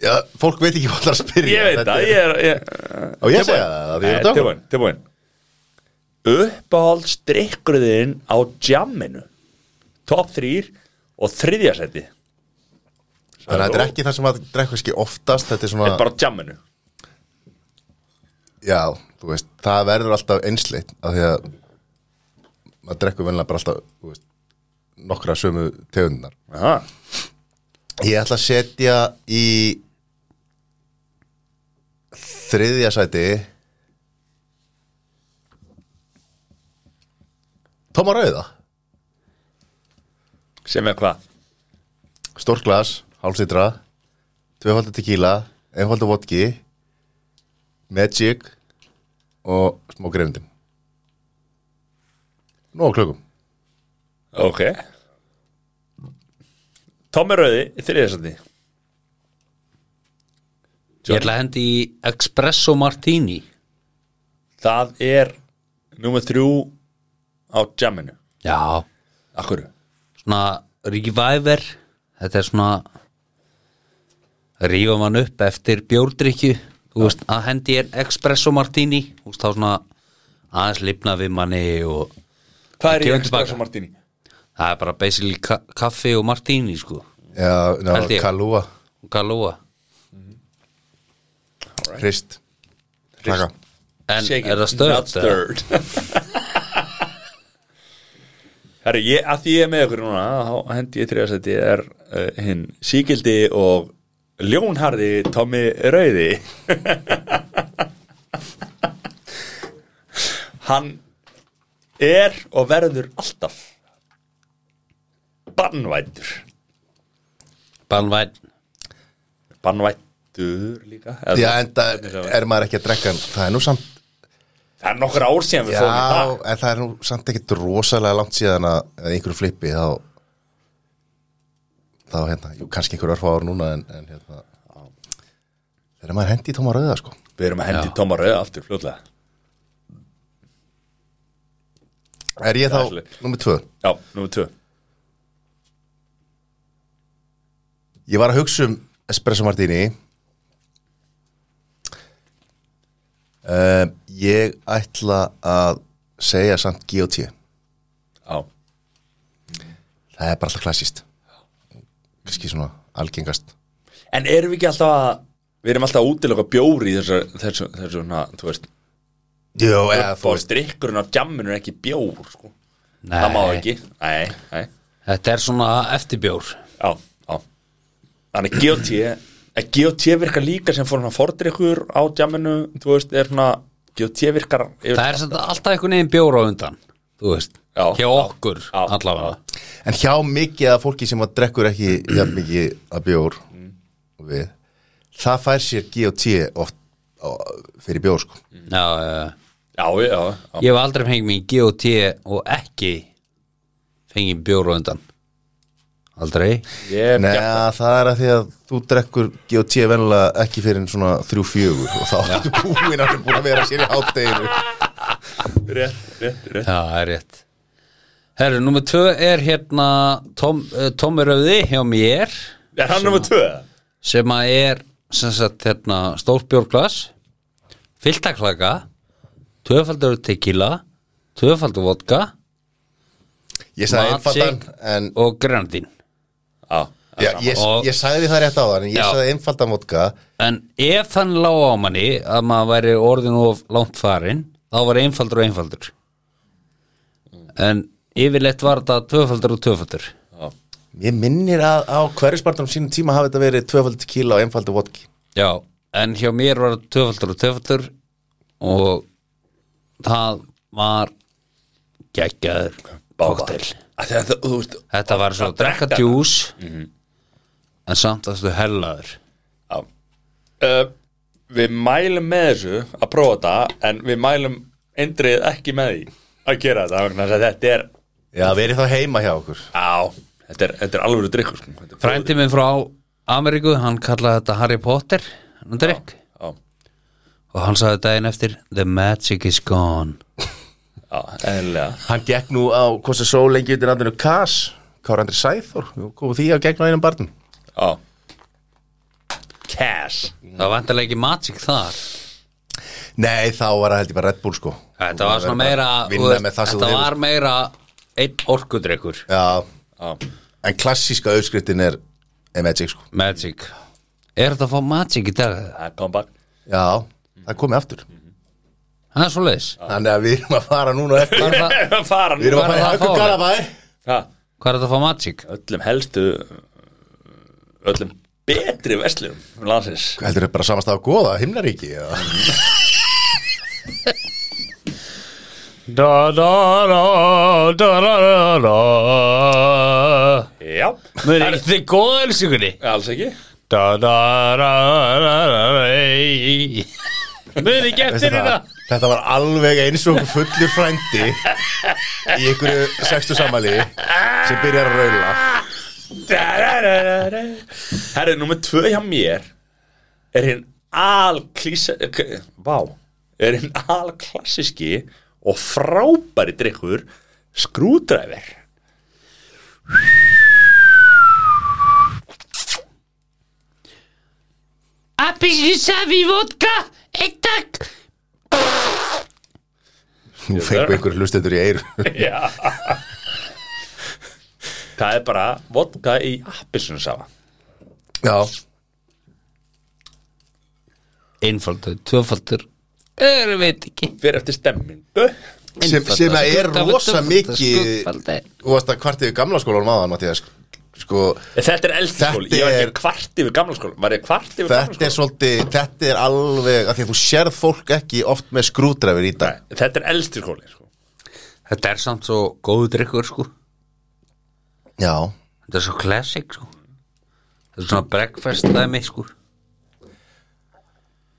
Já, fólk veit ekki hvað það er að spyrja
Ég veit
Þetta
það,
er-
ég er ég,
Á ég að segja það, það því ég er
Nei,
þetta
tilbúin, tilbúin Uppáhalds drikkurðin á jamminu Top 3 og þriðja sæti
Þannig að þetta er ekki það sem að drekka ekki oftast Þetta er svona,
Þetta er bara á jamminu
já, þú veist Það verður alltaf einsleitt af því að maður drekkur venlega bara alltaf þú veist, nokkra sömu tegundunar
Aha.
Ég ætla að setja í þriðja sæti Tóma Rauða
Sem er hvað?
stórt glas, hálfsitra tvöfaldur tequila einfaldur vodki magic og smá grefndin Nó á klökum
Ok Tommy Rauði í þriðja sæti
Ég ætla að hendi í Espresso Martini
Það er nummer þrjú á jamminu
Já,
Akkur
svona reviver þetta er svona rífa mann upp eftir bjórdrykju þú veist, að hendi er espresso martini þú veist, þá svona aðeins lifna við manni og
Hvað er í
Gefum
Espresso
tilbaka.
Martini?
það er bara basically ka kaffi og martini sko,
Já,
Held
já
ég.
Kalúa,
og galúa
hrist Taka
en
Shake
er
it,
það stöð?
Not stirred Herri, ég, að því ég er með ykkur núna þá hendi ég þriðasætti er uh, hinn síkildi og ljónharði Tommy Rauði [laughs] Hann er og verður alltaf bannvættur
Banvæn,
bannvættur líka eða-
Já, en það er maður ekki að drekka hann Það er nú samt
það er nokkur ár síðan við
Já,
fórum í það
en það er nú samt ekkit rosalega langt síðan að að einhverju flippi þá þá hérna, jú, kannski einhverju örfá ár núna en, en hérna þegar maður hendi í tóma rauða sko
við erum að hendi
Já.
Tommy Rauði aftur fljótlega
Er ég
Það er
þá,
svolítið.
nummer tvö
já, nummer tvö
Ég var að hugsa um Espresso Martini uh, Ég ætla að segja samt GOT
já
Það er bara alltaf klassist Kannski svona algengast
En erum við ekki alltaf að Við erum alltaf að útilega bjóri í þessu, þessu, þessu na, þú veist,
Jó, eða þú
og strikkurinn af djamminu er ekki bjór, sko.
Nei.
Það má ekki. Nei, nei.
þetta er svona eftirbjór
Já, já. Þannig GOT, en GOT virkar líka sem fór hann að fordrykkur á djamminu, þú veist, er svona, GOT virkar yfir,
það er samt alltaf einhvern veginn bjór á undan þú veist,
Já.
hjá okkur
Já.
allavega
En hjá mikið að fólki sem að drekkur ekki hjá mikið að bjór og við, það fær sér GOT oft á- fyrir bjór sko.
Mhm.
já, já, já
Já, já, já.
Ég hef aldrei fengið mér GOT og ekki fengið bjór á undan Aldrei
Ég,
Nei,
já,
það er að því að þú drekkur GOT venlega ekki fyrir en svona þrjú fjögur
[laughs]
og þá ertu búin að búin að vera sér í hátteginu
rétt, rétt, rétt.
Já, það er rétt Herru, númer tvö er hérna Tom, uh, Tommi Rauði hjá mér
Er hann nummer tvö?
sem að er sem sagt hérna stórt bjórglas fylltaklaka tvöfaldur tequila tvöfaldur vodka
Ég sagði
Magic
einfaldan en
og granadín
Já.
já, ég,
Og-
ég sagði það rétt á þann en ég
Já.
sagði einfaldan vodka
En ef hann lág á manni að maður væri orðin of langt farinn þá var einfaldur og einfaldur en yfirleitt var þetta tvöfaldur og tvöfaldur
Já.
Ég minnir að á hverjuspartanum sínum tíma hafi þetta verið tvöfald kíla og einfaldan vodki
Já, en hjá mér var þetta tvöfaldur og tvöfaldur og það var geggjaður koktel
Af því að Þú, þú veist,
Þetta var svo að drekka djús en samt að stu hellaður
Já uh, Við mælum með þessu að prófa þetta en við mælum eindrið ekki með því að gera þetta vegna þess að þetta er
Já, verið þá heima hjá okkur
á, þetta er, þetta er alveg drikkur sko. Þetta er
Frændi minn frá Ameríku, hann kallaði þetta Harry Potter hann drekk
Já,
og hann sagði daginn eftir The magic is gone
já, eðlilega
Hann gekk nú á Kosta Sól lengi undir andinu Kass Kára Andri Sæþór, komið því að gegna einum barnum
Já Cash
Mm. Það var endalega ekki magic þar
Nei, þá var það held ég bara Red Bull sko
Þetta var svona meira þú
Vinna
veist,
með það sem
Þetta
þú
var
hefur
meira einn orkudrykkur
Já,
Já,
en klassíska auðskriftin er er Magic sko
Magic Er þetta að fá magic í dag?
það er comeback
Já, það komið aftur
Það er svo leiðis
Þannig að við erum að fara núna eftir
Hvað er það-
[laughs] Fara
Við
nú
erum að
Hvar er
fara í
það að fá
Haukur
það?
Garabæ
ha,
hvað er þetta að fá magic?
Öllum helstu öllum betri verslum landsins
Hvað heldur þau bara samast á góða, himnaríki já.
Da, da, da, da, da, da, da.
Já,
Mér er ekki þið góða elsingunni
alls ekki
Da, da, da, da, da, da Mér er ekki
Veistu
eftir
það?
þetta
Þetta var alveg eins og fullur frændi í einhverju sextu samali sem byrjar að raula
Herri, nummer tvö hjá mér er hinn alklísa k- Vá Er hinn alklassíski og frábæri drikkur skrúdræfir
Appelsinsafi vodka, eitt takk
Nú fengum ykkur hlustendur í eiru
Já Það er bara vodka í appisunsafa
Já,
Einfaldur, tvöfaldur Öru veit ekki
Fyrir eftir stemmingu
sem,
Einfaldur,
sem að er
skuggafaldur,
rosa
skuggafaldur,
mikið
skuggafaldur.
Þú varst að kvartið við gamla skólanum aðan, Mattias Sko,
Þetta er eldskóli,
Þetta
ég var
er-
ekki kvart yfir gamla skóla Var ég kvart yfir gamla
þetta er
skóla?
svolítið Þetta er alveg, af því að þú sérð fólk ekki oft með skrúdræfur í dag
Þetta er eldsti skóli sko.
Þetta er samt svo góðu drikkur sko
Já,
Þetta er svo classic sko Þetta er svona breakfast dæmi sko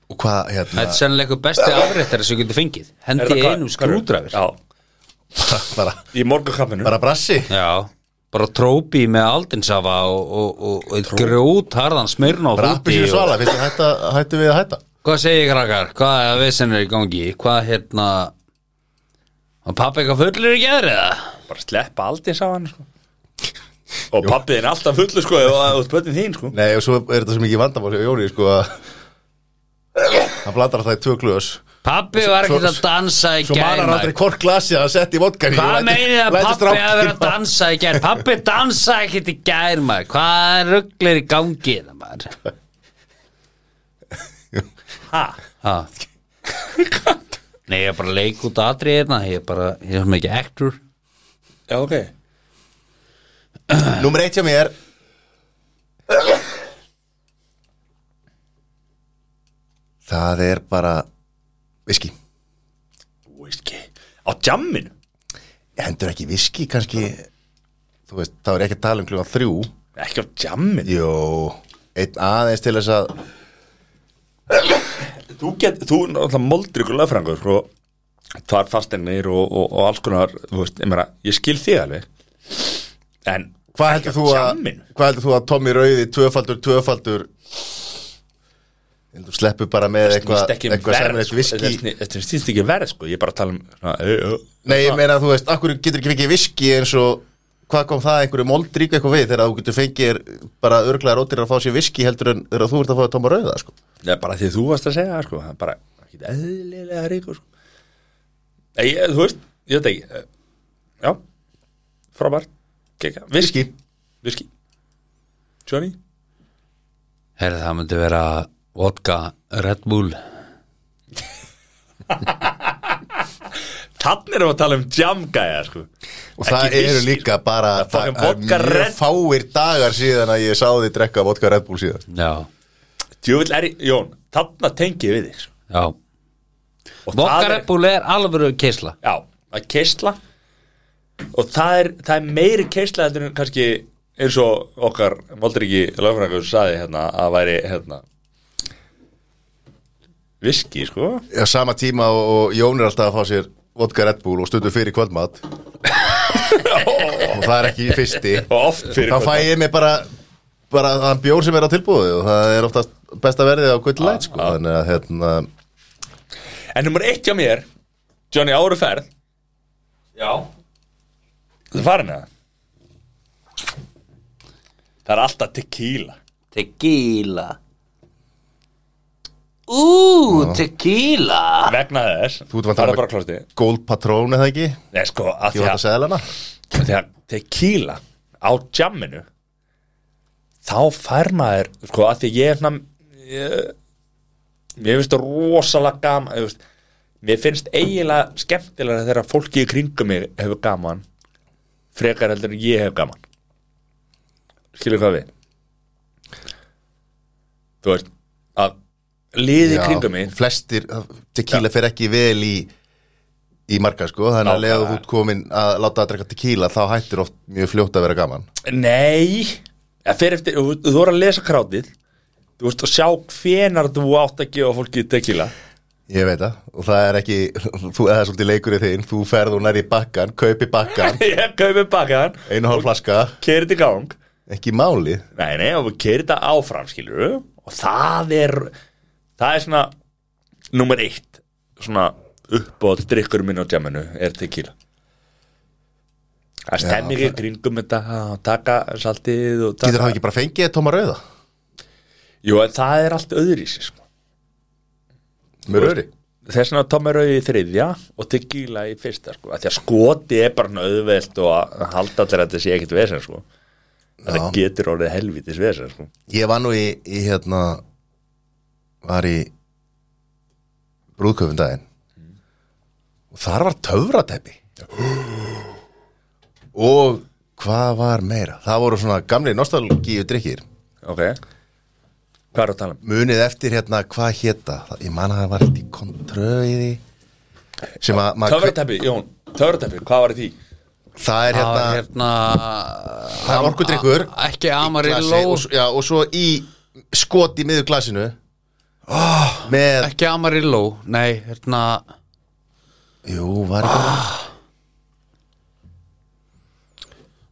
og hvað, hérna
Þetta er sennilega eitthvað besti afréttari sem þú getur fengið
Er
Hendi
það
í
hvað-
einum
hvað eru?
skrúdræfir
Já,
[laughs] bara,
í morgunkappinu
bara brassi
Já, bara trópi með aldinsafa og, og, og, og grút harðan smyrna og
Bara appi sér svala, finnst þið hætta, hættu við að hætta
Hvað segir krakkar? Hvað er að vissin er í gangi? Hvað hérna Var pappi eitthvað fullur í gerð eða?
Bara sleppa aldins á hann sko. [laughs] Og pappið er alltaf fullu sko Og það er bönnið þín sko
Nei, og svo er þetta svo mikið vandamál hjá Jóni, sko að hann blandar það í tvö glöðs
Pappi var ekkert
svo-
að dansa í
Svo manar
gerð
aldrei hvort glasi að hann setti í vodkan í og
Hvað
lætur-
meinið að
lætur
pappi að vera að
strákinn-
dansa í gerð? Pappi dansa ekkert í gerð maður Hvað er rugglir í gangi það maður?
Ha?
Ha? Nei, ég er bara að leika út aðrið hérna Ég er bara, ég er sem ekki actor
Já, ok
Númer eitt hjá mér Það er bara Viski
Whisky Á jamminu
Hendur ekki viski kannski Þú veist, það er ekki að tala um klukkan þrjú
Ekki á jamminu
Jó Einn aðeins til þess að
Þú get, þú náttúrulega moldur ykkur lögfrængur sko Þar fasteignir og, og, og alls konar Þú veist, ég meira, ég skil þig alveg En
Hvað heldur þú að
jamminu?
Hvað heldur þú að Tommy Rauði tvöfaldur, tvöfaldur Ég held Þú sleppur bara með eitthvað
Snýst ekki um
Eitthvað sem
verð
er
sko.
eitthvað viski
Þetta sný- Þetta snýst ekki um verð sko Ég er bara að tala um svona, ö, ö.
Nei, ég meina þú veist, akkur getur ekki fengið viski eins og hvað kom það einhverju moldrík eitthvað við þegar þú getur fengið þér bara örglega rótir að fá sér viski heldur en þegar þú ert að fá að tóma rauða sko.
Það er bara því að þú varst að segja það, sko Það er bara ekki eðlilega ríkur sko. Nei, ég, Þú veist, ég veit ekki eh, Já, frábært Gekka, viski Viski Johnny
Herri, það myndi vera vodka Red Bull
Þannig erum við að tala um jamgæja sko
og það
Ekki
eru
whisky,
líka bara
Það er fucking
það er
vodka Red-
mjög fáir dagar síðan að ég sá þið drekka vodka Red Bull síðan
Já,
Djúvill er í, Jón, þarna tengi ég við þig sko.
já
Og
Vodka
það er-
Red Bull er alvöru keisla
Já, að keisla og það er, það er meiri keisla heldur en kannski eins og okkar Valdriki Löfrangur saði hérna að væri hérna viski, sko
á sama tíma og, og Jón er alltaf að fá sér vodka Red Bull og stundum fyrir kvöldmat og það er ekki í fyrsti
og oft fyrir
þá fæ ég mig bara bara þann bjór sem er á tilbúðu og það er oftast besta verðið á gull light sko. þannig að hérna
En nummer eitt hjá mér, Johnny Áru ferð Já Það er farin að Það er alltaf tequila
Tequila Ú, tequila
vegna þess
Þú
það
ert vant að
er
hafa-
bara klostið
Gold Patrón eða ekki
Nei, sko, að
Ég
því að
var að segja hana
þegar tequila á jamminu þá fær maður sko að því ég er svona ég- mér finnst það rosalega gaman ég veist, mér finnst eiginlega skemmtilega þegar fólki í kringum mig hefur gaman frekar heldur en ég hef gaman skilur hvað við þú veist að liði í kringum mig
Flestir tequila fer ekki vel í í marga sko þannig að
Já,
lega
það-
þú út komin að láta að drekka tequila þá hættir oft mjög fljótt að vera gaman
Nei Það fer eftir, þú, þú voru að lesa krátið Þú veist að sjá hvenar þú átt að gefa fólki tequila [laughs]
Ég veit það og það er ekki [laughs] þú eða svolítið leikur í þinn þú ferð og nærði bakkan kaupi
[laughs]
bakkan
Ég kaupi bakaðan,
einu hálf flaska
keiri þetta í gang
ekki máli
Nei, nei, og keiri þetta áfram, skilur Og það er það er svona nummer eitt svona uppbóð drikkur minn á djamanu er tequila það stemmir í kringum þetta og taka saltið og
Getur
taka
hafa ekki bara fengið tóma rauða
jú en það er allt öðru í sig sko.
Með rauðri
þess vegna tómar auði í þriðja og tequila í fyrsta sko. af því að skoti er bara nöðveld og að halda allir að þetta sé ekkit vesen sko. þetta getur orðið helvitis vesen sko.
Ég var nú í, í hérna Var í Brúðköfum daginn Og þar var töfrateppi Og hvað var meira? Það voru svona gamli nostalgíu drikkir
ok hvað er að tala um?
munið eftir hérna hvað hétta ég man að það var eitthvað í kontröiði sem að maður-
Töfrateppi, Jón, töfrateppi, hvað var í því?
það er
Það
hérna,
var hérna
það er orkudrykkur
a- Ekki
glasi
Amarillo
og, s- já, og svo í skot í miður glasinu oh, með
Ekki Amarillo, nei, hérna
jú, var ekki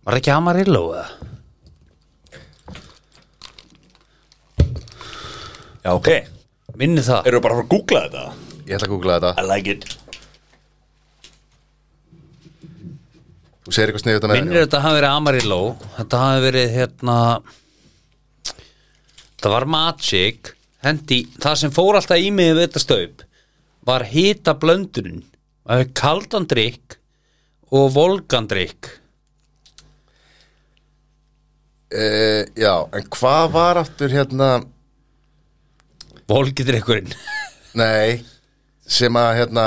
Var það ekki Amarillo eða?
Já, ok
Minni það
Erum við bara að fara að googla þetta?
ég ætla að googla þetta
I like it
þú segir eitthvað sniðu þetta með
Minnir þetta hafi verið Amarillo Þetta hafi verið hérna Það var Magic hendi, Það sem fór alltaf í mig við þetta stöp Var hita blöndurinn Það hefði kaldan drykk Og volgan drykk
e, já, en hvað var aftur hérna
Volgidrykkurinn
nei, sem að hérna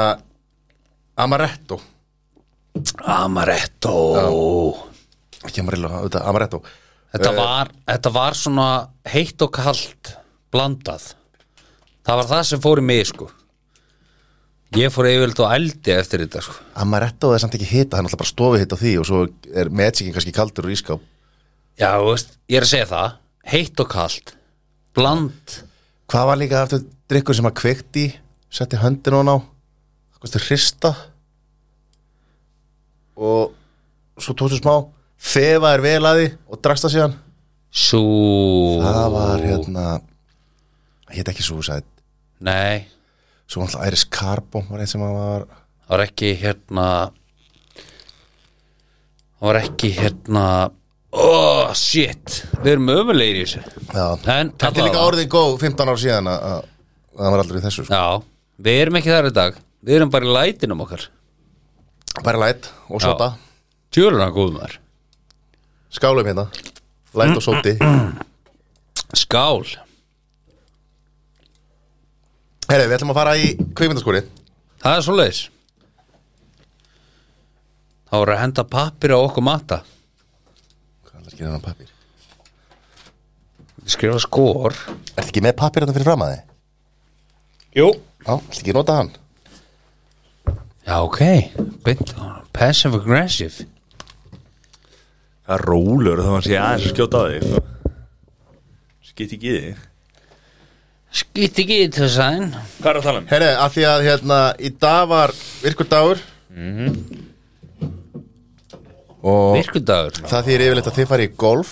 amaretto
Amaretto
ekki amarillo, auðvitað, amaretto
þetta,
Eh.
var, þetta var svona heitt og kalt Blandað Það var það sem fór í mig sko Ég fór yfirleitt og eldi eftir þetta sko
Amaretto er samt ekki hita, það er náttúrulega bara stofi hita því og svo er magicin kannski kaldur úr ískáp
Já, þú veist, ég er að segja það heitt og kalt bland,
Hvað var líka aftur drikkur sem að kveikti setti höndin hún á kosti hrista og svo tókstu smá þefaðir vel að því og draksta síðan
sú
það var hérna hétt ekki Suicide
Nei,
svo var alltaf Iris Carbon var einn sem að var
það var ekki hérna það var ekki hérna oh shit við erum ömulegir í þessu
já,
en
þetta er líka
allavega.
orðið góð 15 ár síðan að, að, að það var aldrei í þessu sko.
Já, við erum ekki þar í dag við erum bara í lætinum okkar
sko. bara læt og sota
tjúluna góðumar
skálum hérna, læt og soti
Skál
herru, við ætlum að fara í kvikmyndaskúri
Það er svoleiðis Það voru að henda pappir á okkur matta
hvað er ekki þennan pappir?
skrifa skor
Er ekki með pappir hérna fyrir fram að þið?
Jú
Já, ætti ekki nota hann
Já, ok, beint Passive aggressive
Það er rólur þá hann sé aðeins að skjóta á þig sko. Skitt ekki í þig
Skýtt ekki í þessu aðein
Hvað er að tala um?
Herre, af því að hérna í dag var virkur dagur Og
Virkudagur
það þýr yfirleitt að þið farið í golf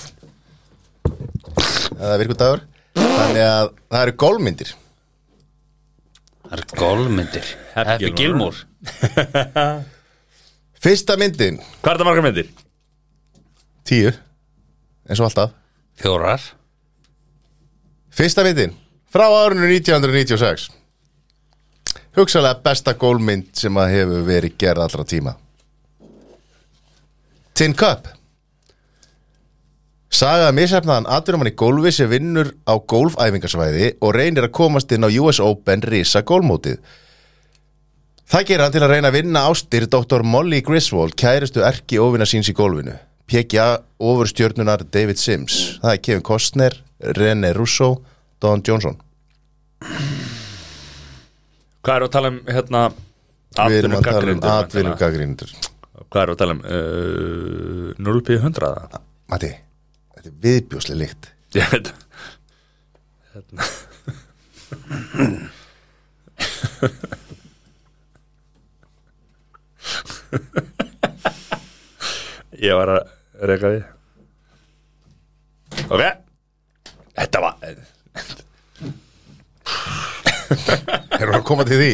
Eða virkur dagur Þannig að það eru golfmyndir
Það er golfmyndir
Happy
Happy
Gilmore.
Gilmore
Fyrsta myndin,
Hvað er það margar myndir?
tíu eins og alltaf
Fjórar
Fyrsta myndin, frá árinu 1996 Hugsalega besta golfmynd sem að hefur verið gerð allra tíma Tin Cup Saga misefnaðan atvinnumann í golfi sem vinnur á golfæfingasvæði og reynir að komast inn á US Open risa golfmótið. Það gerir hann til að reyna að vinna ástir Dr. Molly Griswold, kærustu erki óvinna síns í golfinu. PGA ofurstjörnunar David Sims. Það er Kevin Costner, René Russo, Don Johnson.
Hvað er að tala um hérna
Við erum að tala um
atvinnugagnrýnendur,
atvinnum
væntanlega?
gaggrindur.
Hvað er að tala um? Uh, 0p100 eða?
Matti, þetta er viðbjóslega líkt.
Ég veit hérna. Ég var að reyka því Ok Þetta var
Erum við að koma til því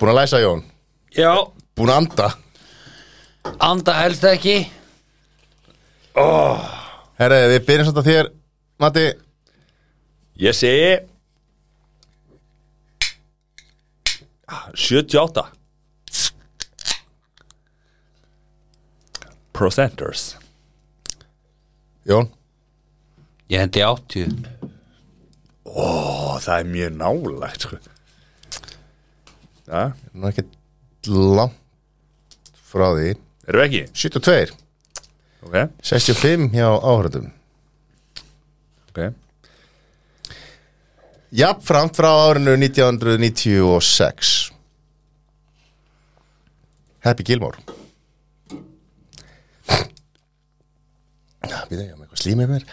Búin að læsa Jón
Já,
Búin að anda
anda helst ekki
Herra, við byrjum samt að þér Matti,
Ég segi Ah, 78 Procenters
Jón
Ég hendi 80
Ó, það er mjög nálægt sko. ja,
Nú er ekki langt frá því
Erum við ekki?
72,
Ok,
65 hjá áhörðum
ok
Jafnframt frá árinu 1996 Happy Gilmore Býða ég á með eitthvað slímið mér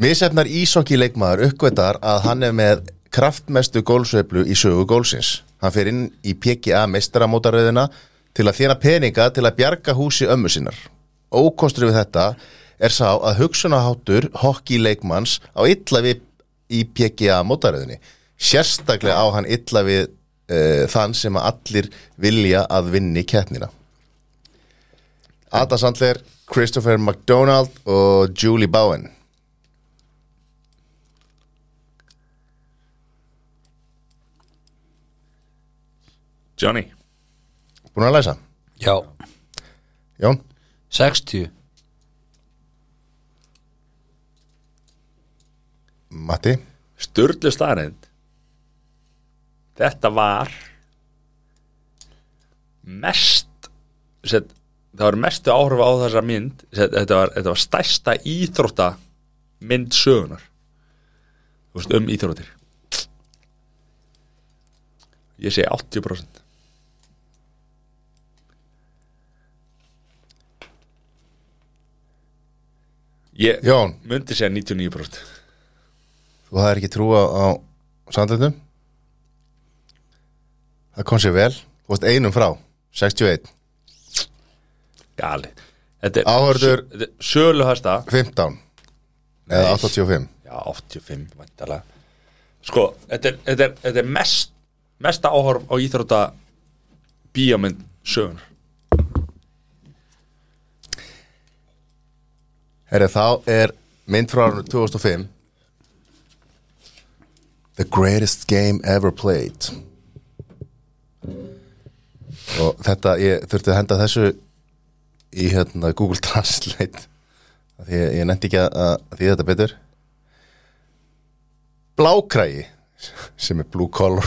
Misefnar ísokki leikmaður uppgötar að hann er með kraftmestu gólsveiflu í sögu gólsins Hann fer inn í PGA meistaramótaröðina til að þjána peninga til að bjarga húsi ömmu sinnar Ókostur við þetta er sá að hugsunaháttur hokki leikmanns á illa við í PGA mótaröðinni Sérstaklega á hann illa við uh, þann sem að allir vilja að vinni keppnina Ada Sandler, Christopher McDonald og Julie Bowen
Johnny
Búin að læsa?
Já,
Jón?
60
Matti?
Sturlu staðarind Þetta var mest set, það var mestu áhrif á þessa mynd set, þetta, var, þetta var stærsta íþrótta mynd sögunar Þú veist, um íþróttir Ég segi 80% Ég
Jón,
myndi segja 99%
þú hafðir ekki trúa á sandlöndum? Það kom sér vel Þú varst einum frá, 61
Gali Þetta er
Áhorfendur-
sö- þetta er Söluhæsta
15 Eða 85
Já, 85 væntalega Sko, þetta er, þetta er, þetta er mest Mesta áhorf á íþrótta Bíómynd sögunar
Herri, þá er mynd frá árinu 2005 The greatest game ever played Og þetta, ég þurfti að henda þessu í hérna Google [laughs] Translate af Því ég, ég nefndi ekki að, að því þetta betur Blákrægi sem er blue collar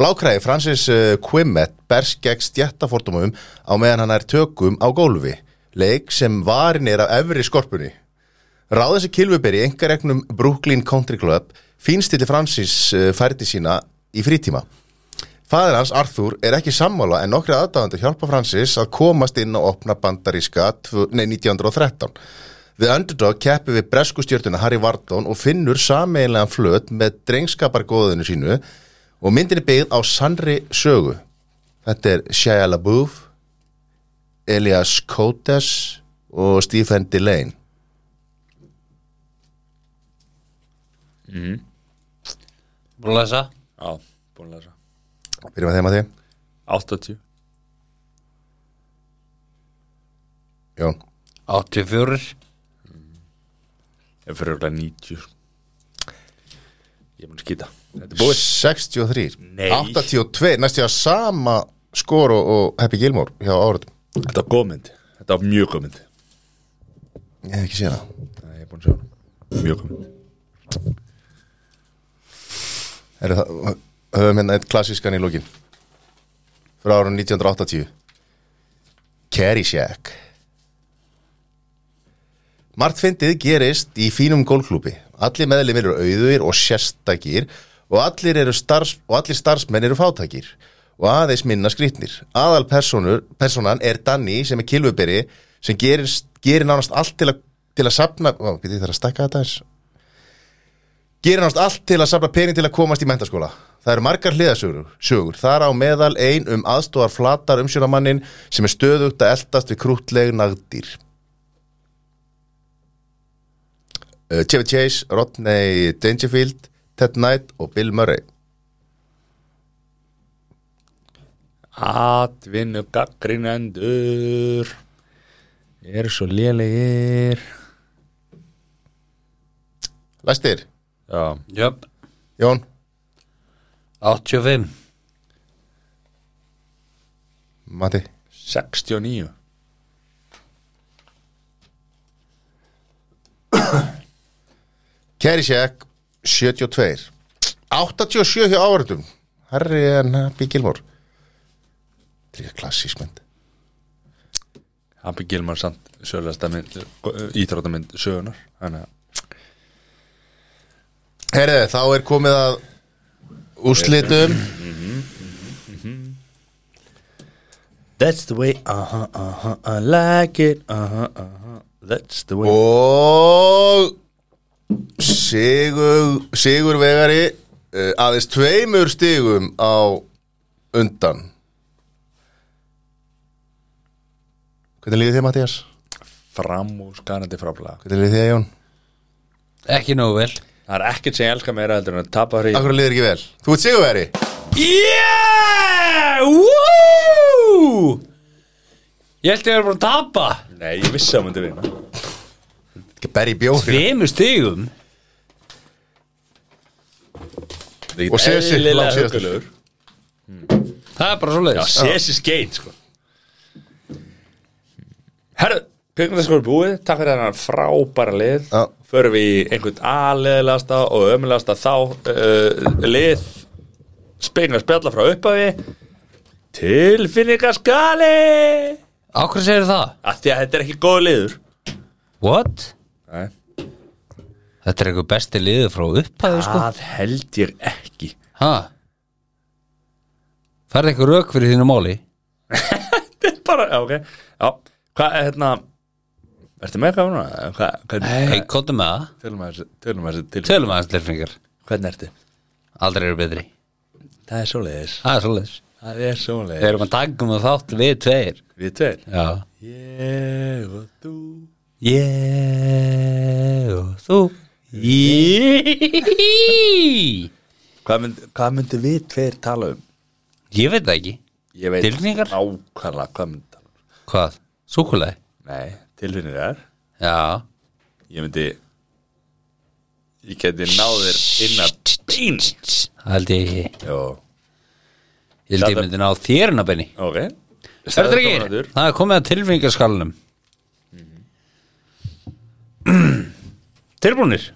Blákræði Francis eh, Quimet berst gegn stjættafordumum á meðan hann er tökum á gólfi leik sem varin er af efri skorpunni Ráða þessi kilvuberi í engaregnum Brooklyn Country Club fínstilli Francis eh, færdi sína í frítíma Fæðir hans, Arthur, er ekki sammála en nokkri aðdáðandi hjálpa Francis að komast inn og opna bandaríska tvö- nei, 1913. The Underdog keppi við breskustjörtuna Harry Vardón og finnur sameiginlegan flöt með drengskapargóðinu sínu og myndin er byggð á sannri sögu. Þetta er Shia LaBeouf, Elias Cotes og Stephen Delane.
Búin að lesa
Já, búin að lesa
Byrjum að þeim að þeim.
80
Jón,
84
Ef fyrir örugglega 90 sko. Ég mun skýta Þetta er búið
63.
Nei.
82, næstu að sama skor og, og Happy Gilmore hjá áratum.
Þetta var góð mynd Þetta var mjög góð mynd
Ég hef ekki séð það.
Það er búin að sjá hana Mjög góð mynd
Heru, það höfum hérna eitt klassískan í lókin frá árun 1980 Caddyshack Margt fyndið gerist í fínum gólklúpi allir meðlumir eru auðuir og sérstakir og allir, eru starfs, og allir starfsmenn eru fátækir og aðeins minna skrýtnir aðal personan er Danny sem er kilvuberi sem gerir, gerir nánast allt til að, til að sapna, ó, býtti það að stakka þetta eins gerir náttúrulega allt til að safna pening til að komast í mentaskóla. Það eru margar hliðasögur, sögur. þar á meðal ein um aðstóðar flatar umsjónamannin sem er stöðugt að eldast við krútleg nagdýr. uh, Chevy Chase, Rodney Dangerfield Ted Knight og Bill Murray
Atvinnu gaggrinendur Eru svo lélegir
Læstir,
Já
Jöp,
Jón
85
Mati
69
Kerry Shack 72 87 hjá áverðum Harry en Happy Gilmore Líka klassísk mynd
Happy Gilmore samt sögulegasta mynd Íþróttamynd sögunar Þannig að
Herðu, þá er komið að úrslitum
That's the way, uh-huh, uh-huh, I like it, uh-huh, uh-huh That's the way
og Sigur Sigur Vegari uh, aðeins tveimur stigum á undan Hvernig líður þér Mattias?
Fram úr skarandi fráblega
Hvernig líður þér Jón?
Ekki nógu vel
Það er ekkert sem ég elska meira heldur en að tapa hrí
Akkur líður ekki vel? Þú ert Sigur Vegari
Yeah! Woo! Ég held ég að vera búin að tapa
Nei, ég vissi að hún myndi vinna
Ekki berri bjóri
Tveimur stigum
Og Sesi,
Eðlilega
langsíðastur.
huggulegur.
Það er bara svoleiðis
Sesi skeit, sko Herru, kvikmyndaskóri búið Takk fyrir þennan frábæra lið
Já.
Förum við í einhvern aðleðilegasta og ömulegasta þá uh, lið Speilin að spjalla frá upphafi Tilfinningaskali
Á hverju segir það?
Af því að þetta er ekki góð liður
What?
Nei.
Þetta er eitthvað besti liður frá upphæðu sko
Það held ég ekki [laughs]
Ha? Færði eitthvað rauk fyrir þínu máli?
Þetta er bara, já, ok Já, hvað, hérna Ertu með eitthvað núna? Hvað, hvernig,
Hei, kóttu með það
tölum að þessu, tölum að þessu til
Tölum aðeins lirfingar
Hvernig ertu?
Aldrei eru betri
Það er svoleiðis
Það er svoleiðis
Það er
Við
svoleiðis
erum að taka um að þátt við tveir
Við tveir
Já
Ég og þú
Ég og þú Ég
Hvað, mynd, hvað myndi við tveir tala um?
Ég veit það ekki
Ég veit
Tilfinningar?
Nákvæmlega hvað myndi tala um
Hvað? Súkulæði?
Nei, tilfinningar
Já
Ég myndi Ég geti náðir innan beins
Það held ég ekki
Jó,
Ég held ég myndi ná þér en að benni
ok
Hörður ekki? Það er komið að tilfinningarskalanum Mhm. Tilbúnir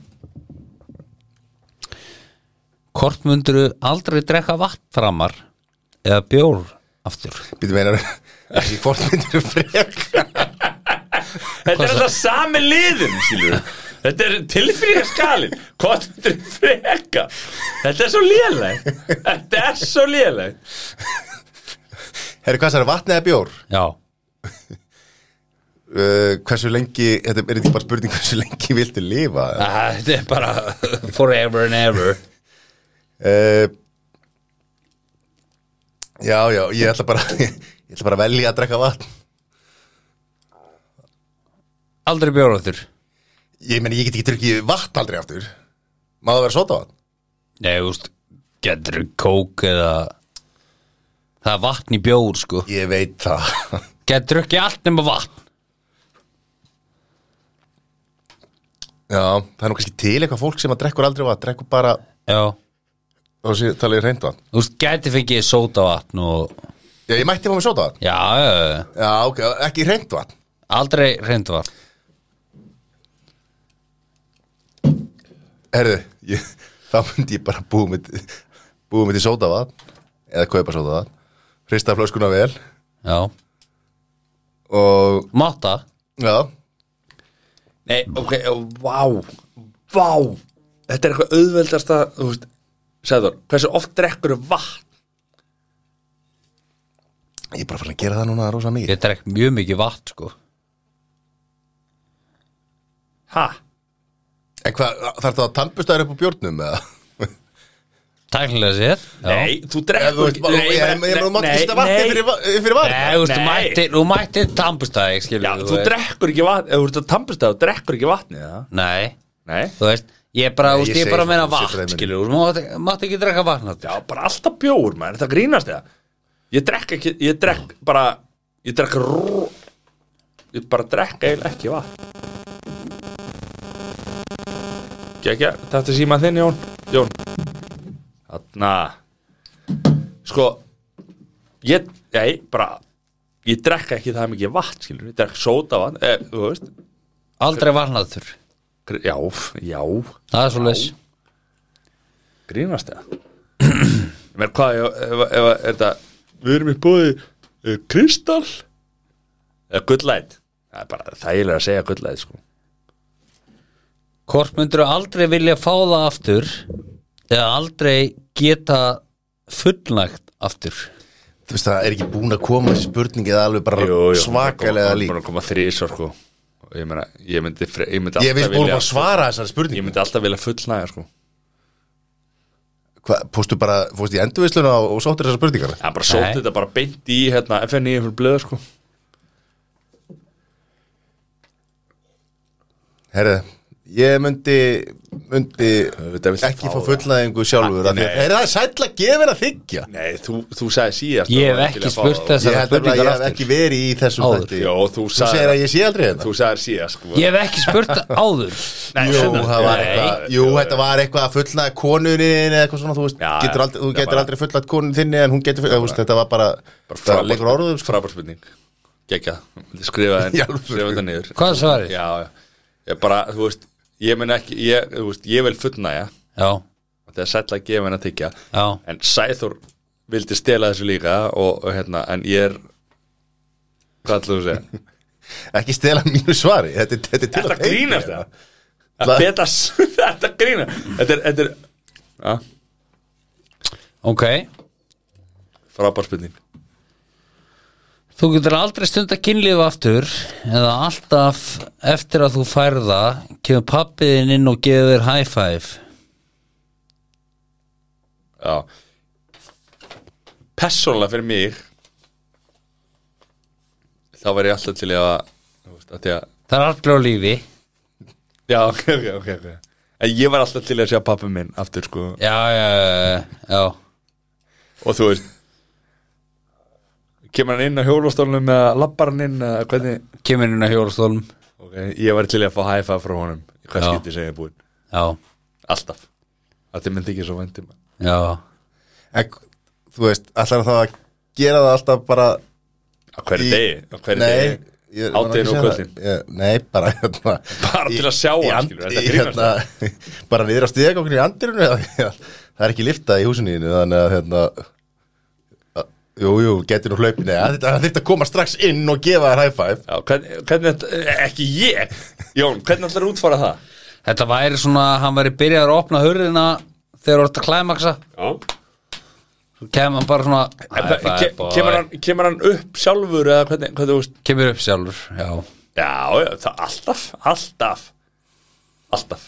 Hvort munduru aldrei drekka vatn framar eða bjór aftur
Býtum einar ekki hvort myndir frekar
Þetta er alltaf sami liðum, skilur Þetta er tilfinningaskalin Hvað þetta er freka Þetta er svo léleg Þetta er svo léleg
Herri, hvað sér, vatn eða bjór?
Já,
Uh, hversu lengi, þetta er ekki bara spurning hversu lengi viltu lifa
Æ, þetta er bara forever and ever
uh, Já, já, ég ætla bara [laughs] ég ætla bara að velja að drekka vatn
Aldrei bjór aftur
Ég meni, ég get ekki drukkið vatn aldrei aftur Má það vera sota vatn?
Nei, þú veist, getur kók eða Það er vatn í bjór, sko
Ég veit það [laughs]
Getur ekki allt nema vatn
Já, það er nú kannski til eitthvað fólk sem að drekkur aldrei vatn drekkur bara,
Já,
þá sé, tala ég reynd vatn
þú veist, getur fengið sóta vatn og
Já, ég mætti fá með sota vatn
Já, já, já,
Já, ok, ekki reynd vatn
aldrei reynd vatn
Herðu, ég, [laughs] þá myndi ég bara búið mitt búið mitt í sótavatn eða kaupa sótavatn hrista flöskuna vel
Já,
og
máta
já,
Nei, ok, vá Vá Þetta er eitthvað auðveldasta Þú veist, segður, hversu oft drekkur vatn
ég er bara farin að gera það núna rosa mikið
Ég drekk mjög mikið vatn, sko
Ha?
En hvað, þarf það að tampustæður upp á bjórnum eða?
Tæknilega sér já.
Nei, þú
Ef þú
drekkur
veist, bara- ég ég- ég mátti ekki setja vatni fyrir,
nei,
va- fyrir
Nei,
vatn
Eh, þú veist, þú
Nei.
mættir, þú mættir tampustæði, skilur
Já, þú drekkur ekki vatn Ef þú ert að tampast það, þú drekkur ekki vatni, það
Nei,
Nei,
þú veist, ég er bara,
Nei,
þú veist,
ég
ég er
segi
bara að meina
það, ég segi
vatn,
það, ég
skilur, þú mátt- mátt ekki drekka vatn
já, bara alltaf bjór, maður, þetta grínast eða Ég drekk ekki, ég drekk bara Ég drekk rú Ég bara drekk eiginlega ekki vatn Gekja, þetta er síma þinn, Jón Jón Þarna Sko Ég, nei, bara Ég drekk ekki það mikið vatn, skilur Ég drekk sóta vatn, eh, þú veist
aldrei vatnaður,
Gr- Já, já,
það er svo leis
grínast eða Mér hvað, ef, ef, ef, ef er þetta Við erum í búði uh, Kristall Eða gullæt Það er bara þægilega að segja gullæt sko
hvort myndur aldrei vilja fá það aftur eða aldrei geta fullnægt aftur
Þú veist, það er ekki búin að koma þessi spurningi Það er alveg bara svakalega
lík
lík
Búin að koma þrísar sko Og Ég meina, ég myndi, fre- ég myndi
Ég veist
alltaf
búin
vilja
að svara þessari
Ég
spurningi
myndi alltaf vilja fullnæga sko
Hva, Fórstu bara, fórstu í endurvisluna og, og sóttir þessar spurningar
Það bara sótti
Nei.
þetta bara beint í hérna, FNI fyrir blöð sko
Herðu, ég myndi, myndi
Auðvitað viltu
ekki
fá
fá
það.
fullnæðingu sjálfur af því að-
Nei.
Herðu, það er sæll að gefa að þykja
Nei, þú, þú sagði síðast
Ég
að
hef
þú
ekki
vilja fá
spurt
það.
þess-
Ég
Þessar
held að ég
spurningar
hef
aftur.
ekki verið í þessum
Áður.
þætti
Jó, þú
Þú segir að
sagði
ég sé aldrei hérna
Þú sagði síðast sko
ég hef ekki spurt áður
Nei,
Jú,
seinna.
það var
Nei.
eitthvað, jú, þetta var eitthvað að fullnaði konunni eða eitthvað svona, þú veist,
Já,
getur
já.
aldrei, þú
Já,
getur
bara-
aldrei fullnað konunni þinni en hún getur, fullnægt- þú veist, þetta var bara, bara
frábært-
leikur orðum, sko.
frábær spurning Gekja, skrifa
Í
það
alvöru.
skrifa það niður
Hvað er svarið?
Já, já ég bara, þú veist, ég mun ekki ég, þú veist, ég vil fullnæja
já,
þetta er sætla að gefa henni að tyggja
já,
en Sæþór vildi stela þessu líka og, og hérna, en ég er hvað ætlum þú að [laughs] segja?
ekki stela mínu svari, þetta, er- þetta er til
Þetta
að teikna.
grínast það [laughs] Þetta betas- [laughs] Þetta grínast Þetta er, þetta er ja,
ok
frábær spurning
þú getur aldrei stunda kynlíf aftur eða alltaf eftir að þú færða kemur pappiðin inn og gefur þér high five
Já Persónulega fyrir mig Þá var ég alltaf til í að þú veist, að því að
það er aldrei á lífi
Já, ok, ok, ok, ok En ég var alltaf til í að sjá pappi minn aftur sko
já, já, já, já
Og þú veist Kemur hann inn á hjólastólnum eða labbar hann inn eða hvernig
kemur inn á hjólastólum
Ok, ég var til í að fá hæfa frá honum í Hvað
Já.
skipti sem ég er búinn
já,
Alltaf Að þið myndi ekki um svo vændi
já,
En, þú veist, allar það að gera það alltaf bara,
Á hverju
Í-
degi, á hverju
nei,
degi Hádeginu
ég- ég var
og
að segja
kvöldin.
það. Ég- Nei, bara, hérna,
Bara
í-
til að sjá
í
hann,
and-
skilur, þetta
í,
grínast
hérna, [laughs] bara niður á stíðagóknir í andirinu það er ekki liftað í húsinu þínu, þannig að hérna að- jú, jú, getur nú hlaupinu þetta þurft að koma strax inn og gefa þér high five
Já, hvernig, hvernig, eh, ekki ég Jón, hvernig ætlar að útfara það?
þetta væri svona hann væri byrjaður að opna hurðina þegar þú ert að klæmaksa
Já
svo kemur hann bara svona
En
high
það-
five,
ke-
boy.
kemur, hann, kemur hann upp sjálfur eða hvernig, hvernig þú veist
kemur upp sjálfur já,
já, já, það alltaf, alltaf alltaf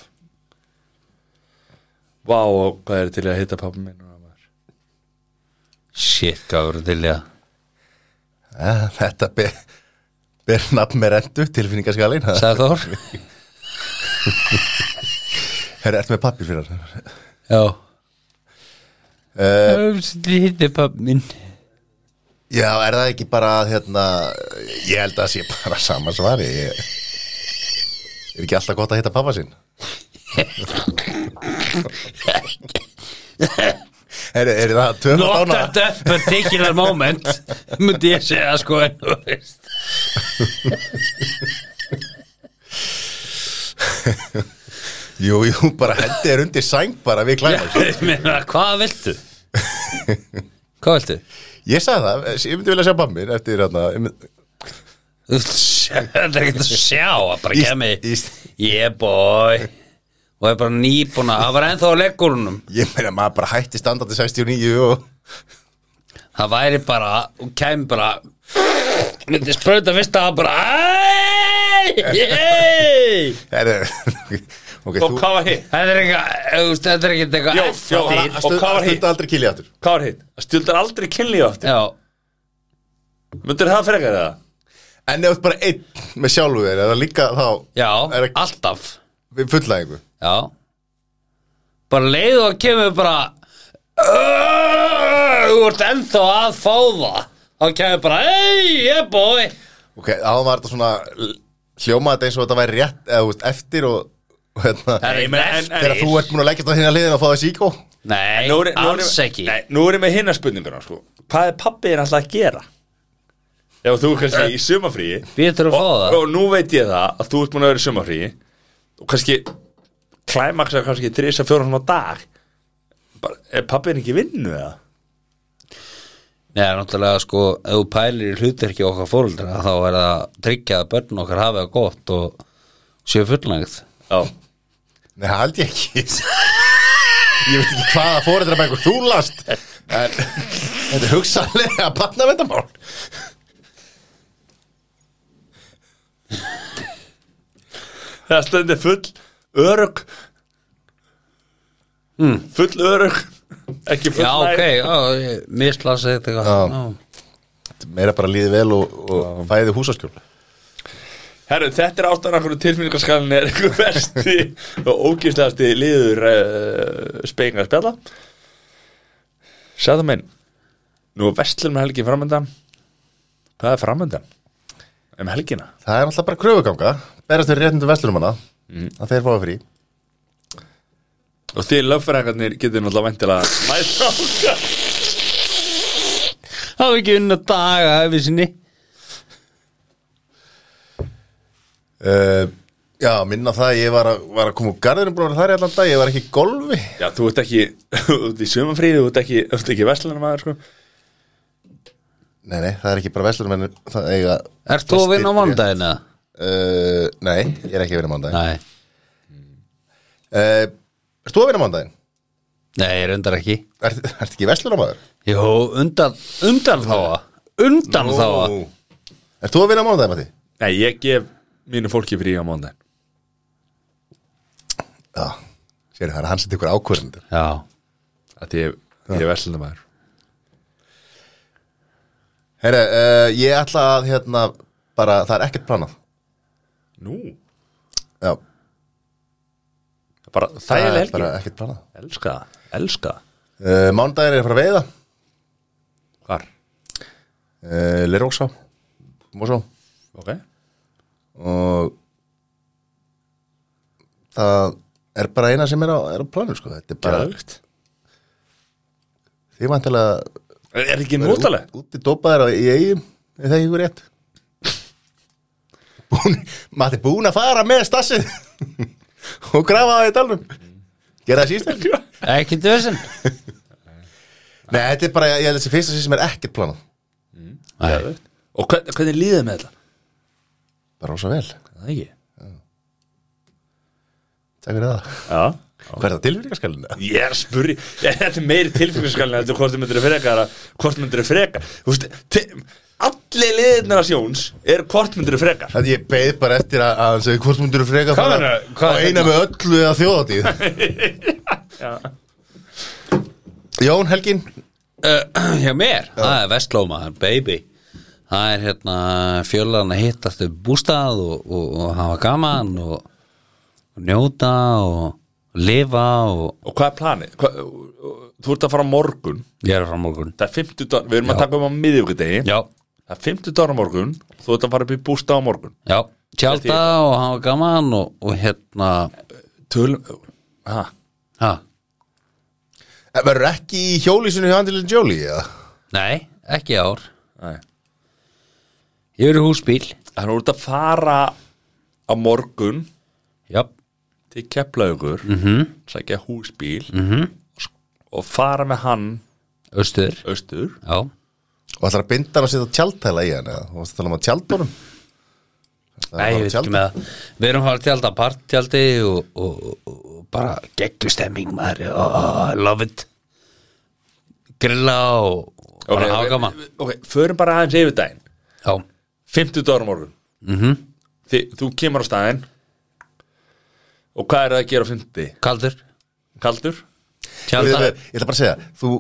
vá, og hvað er til í að hitta pappa minn núna, maður?
shit, hvað voru til í að
Eh, þetta ber, ber nafn með rendu tilfinningaskalin
sagði [laughs] Þór
herri, ertu með pappir fyrir það
já,
uh,
það hitti pappi minn
já, er það ekki bara að, hérna, ég held að það sé bara sama svari ég, er ekki alltaf gott að hitta pappa
[laughs]
sinn Herri, er það töfum
not that that particular moment myndi ég segja sko en þú veist
Jú, jú, bara hendi er undir sæng bara við
Já,
klæma
ég meina, hvað viltu hvað viltu
Ég sagði það, eh, ég myndi vilja sjá bambin eftir hérna ég myndi-
Þú vilt sjá- [laughs] það er ekkert að sjá að bara
Íst-
kemi
íst-
yeah boy og er bara nýbúna, það var ennþá á leggurunum
Ég meina maður bara hætti standandi 69 og
það væri bara, og kemi bara myndi sprauta fyrst að það bara æj, yey.
Herri, [laughs] ok,
og hvað var hitt?
þetta er eitthvað þú veist, þetta er ekkert eitthvað
Jó,
eftir.
jó,
Að
Og hvað
stund-
var
að
hitt?
stunda aldrei kýli aftur
hvað var hitt? að stjúldar aldrei kynlíf aftur
já,
myndir það frekar eða?
En ef þú ert bara einn með sjálfu þér, er það líka þá
já,
Er ekki-
alltaf
við fullæðingu
Já Bara leið og kemur bara Þú ert ennþá að fá það Þá kemur bara Hey, yeah boy
Ok, áðan var þetta svona l- hljómaði þetta eins og þetta væri rétt eða þú veist, eftir og, og hérna,
Það er
Nei,
ekki
menn, en- en-
eftir
þegar þú ert múin að leggjast á hérna hliðin og fá það síkó
Nei,
Nú er- nú er-
alls ekki
Nei, nú erum við hinna spurninguna sko. Hvað er pappið er alltaf að gera? Já, þú kannski í sumafríi
Býtur að fá
og,
það
og nú veit ég það að þú ert búin að vera í sumafríi og kannski klæmaksa kannski þrisa fjórum á dag Bara, er pappin ekki í vinnu eða?
Nei, náttúrulega sko, ef þú pælir í hlutverki okkar fóruldra þá er það að tryggja að börn okkar hafi það gott og séu fullnægt
Já,
Nei, það held ég ekki Ég veit ekki hvaða fóreldra með einhver þú last en þetta er hugsalega að batna vendamál
það stendur full örug mm. full örug ekki full
Já, ok, já, mislasa þetta eitthvað
Já.
Já.
Meira bara líði vel og, og fæði húsaskjól
Herru, þetta er ástæðan af hverju tilfinningarskalinni er einhver versti og ógíslegasti liður uh, spekinga spjalla Sæðum minn Nú er vestlum með helgin framöndan Hvað er framöndan? Um helgina?
Það er alltaf bara kröfuganga Berast þér réttundum vestlunumanna
Mhm.
mm. að þeir fáið frí
Og því lögfæringarnir getur náttúrulega væntilega mæta okkar
Það er ekki unna daga hefði sinni
uh, Já, minna það að ég var að, var að koma úr garðinu búin að vera þar í allan dag Ég var ekki í golfi
Já, þú ert ekki út í sumanfríðu, þú ert ekki, þú ert ekki vestlunum aður sko
Nei, nei, það er ekki bara vestlunumenn Það eiga
Ert þú að vinna á mánudaginn eða?
Uh, nei, ég er ekki að vinna mándaginn
Nei,
uh, Erst þú að vinna mándaginn?
nei, ég reyndar ekki
Ert, ert ekki vestlunamaður?
Jó, undan, undan þá Undan þá
Nú. Ert þú að vinna mándaginn, Matti?
Nei, ég gef mínu fólki frí á mándan
Já, sér það er hann sem tekur ákvörðundur
Já,
Því ég, ég er vestlunum aður
Herra, uh, ég ætla að hérna bara, það er ekkert planað
Nú,
Já,
bara
það
þægileg
er
helgin
bara ekkert planað
Elska, það, elska það.
uh, Mándaginn er að fara að veiða
Hvar?
uh, Leróksá, Mósá
Ok
og það er bara eina sem er á, er á planum sko. þetta er bara,
Geðvögt
því vantilega
Er er ekki notaleg? [laughs]
Úti dópaðir á í eigum Er það ekki rétt? Búin, maður er búin að fara með stassið [laughs] og grafa það í dalnum Gerða það síst ekki?
ekki döðsinn
Nei, þetta er bara, ég held að þessi fyrsta síð sem er ekkert planað
Nei,
Og hvern, hvernig líðið með þetta?
Bara rosa vel,
Það ekki
takk fyrir það
Já
Hvað er það tilfyrirkarskallinu?
Ég er að spurri [laughs] ég, Þetta er meiri tilfengarskallin Þetta er hvort þú myndir að freka eða Hvort myndir að freka Þú veist te- Allir liðirnar að sjóns Er hvort myndir að freka
Þetta ég beið bara eftir að, að hann segi hvort mundur þú freka að
Hvað
fara
meinarðu? Hvað
á
er
eina með öllu eða þjóðatíð
[laughs]
Jón Helgin
uh, [clears throat] hjá mér Það er vestlómaður, baby Það er hérna fjölan að hittast um bústað og, og, og hafa gaman og, og njóta og lifa og
Og hvað er planið? Hva, þú ert að fara á morgun
ég er frá morgun
Það er 50 dólar Við erum að taka um á miðvíkudegi
Já,
Það er 50 dólar á morgun Þú ert að fara upp í bústa á morgun
já, tjálta og hafa gaman og, og hérna
Tölum Ha?
ha,
Eh, Verður ekki í hjólísinu hjá Angelina Jolie? Ja?
Nei, ekki í ár
Nei
Ég er í húsbíl
Það er út að fara á morgun
Já,
til Keflaugur mm -hmm.
Mhm.
sækja húsbíl -hmm. og fara með hann
austur
austur
Já,
Og ætlar að binda hann að setja tjaldtæla í hann eða? Þú varst að tala um að tjaldunum?
Nei, ég veit ekki með það Við erum að tjálta partjaldi og, og, og, og bara geggjustemming maður oh, I love it Grilla og og bara okay, hafa gaman
Ok, förum bara aðeins yfir daginn
Já,
50 dólar á morgun
mhm,
Þi, Þú kemur á staðinn og hvað er það að gera á 50?
kaldur
Kaldur?
Ég
Tjálta,
ætla bara að segja, þú,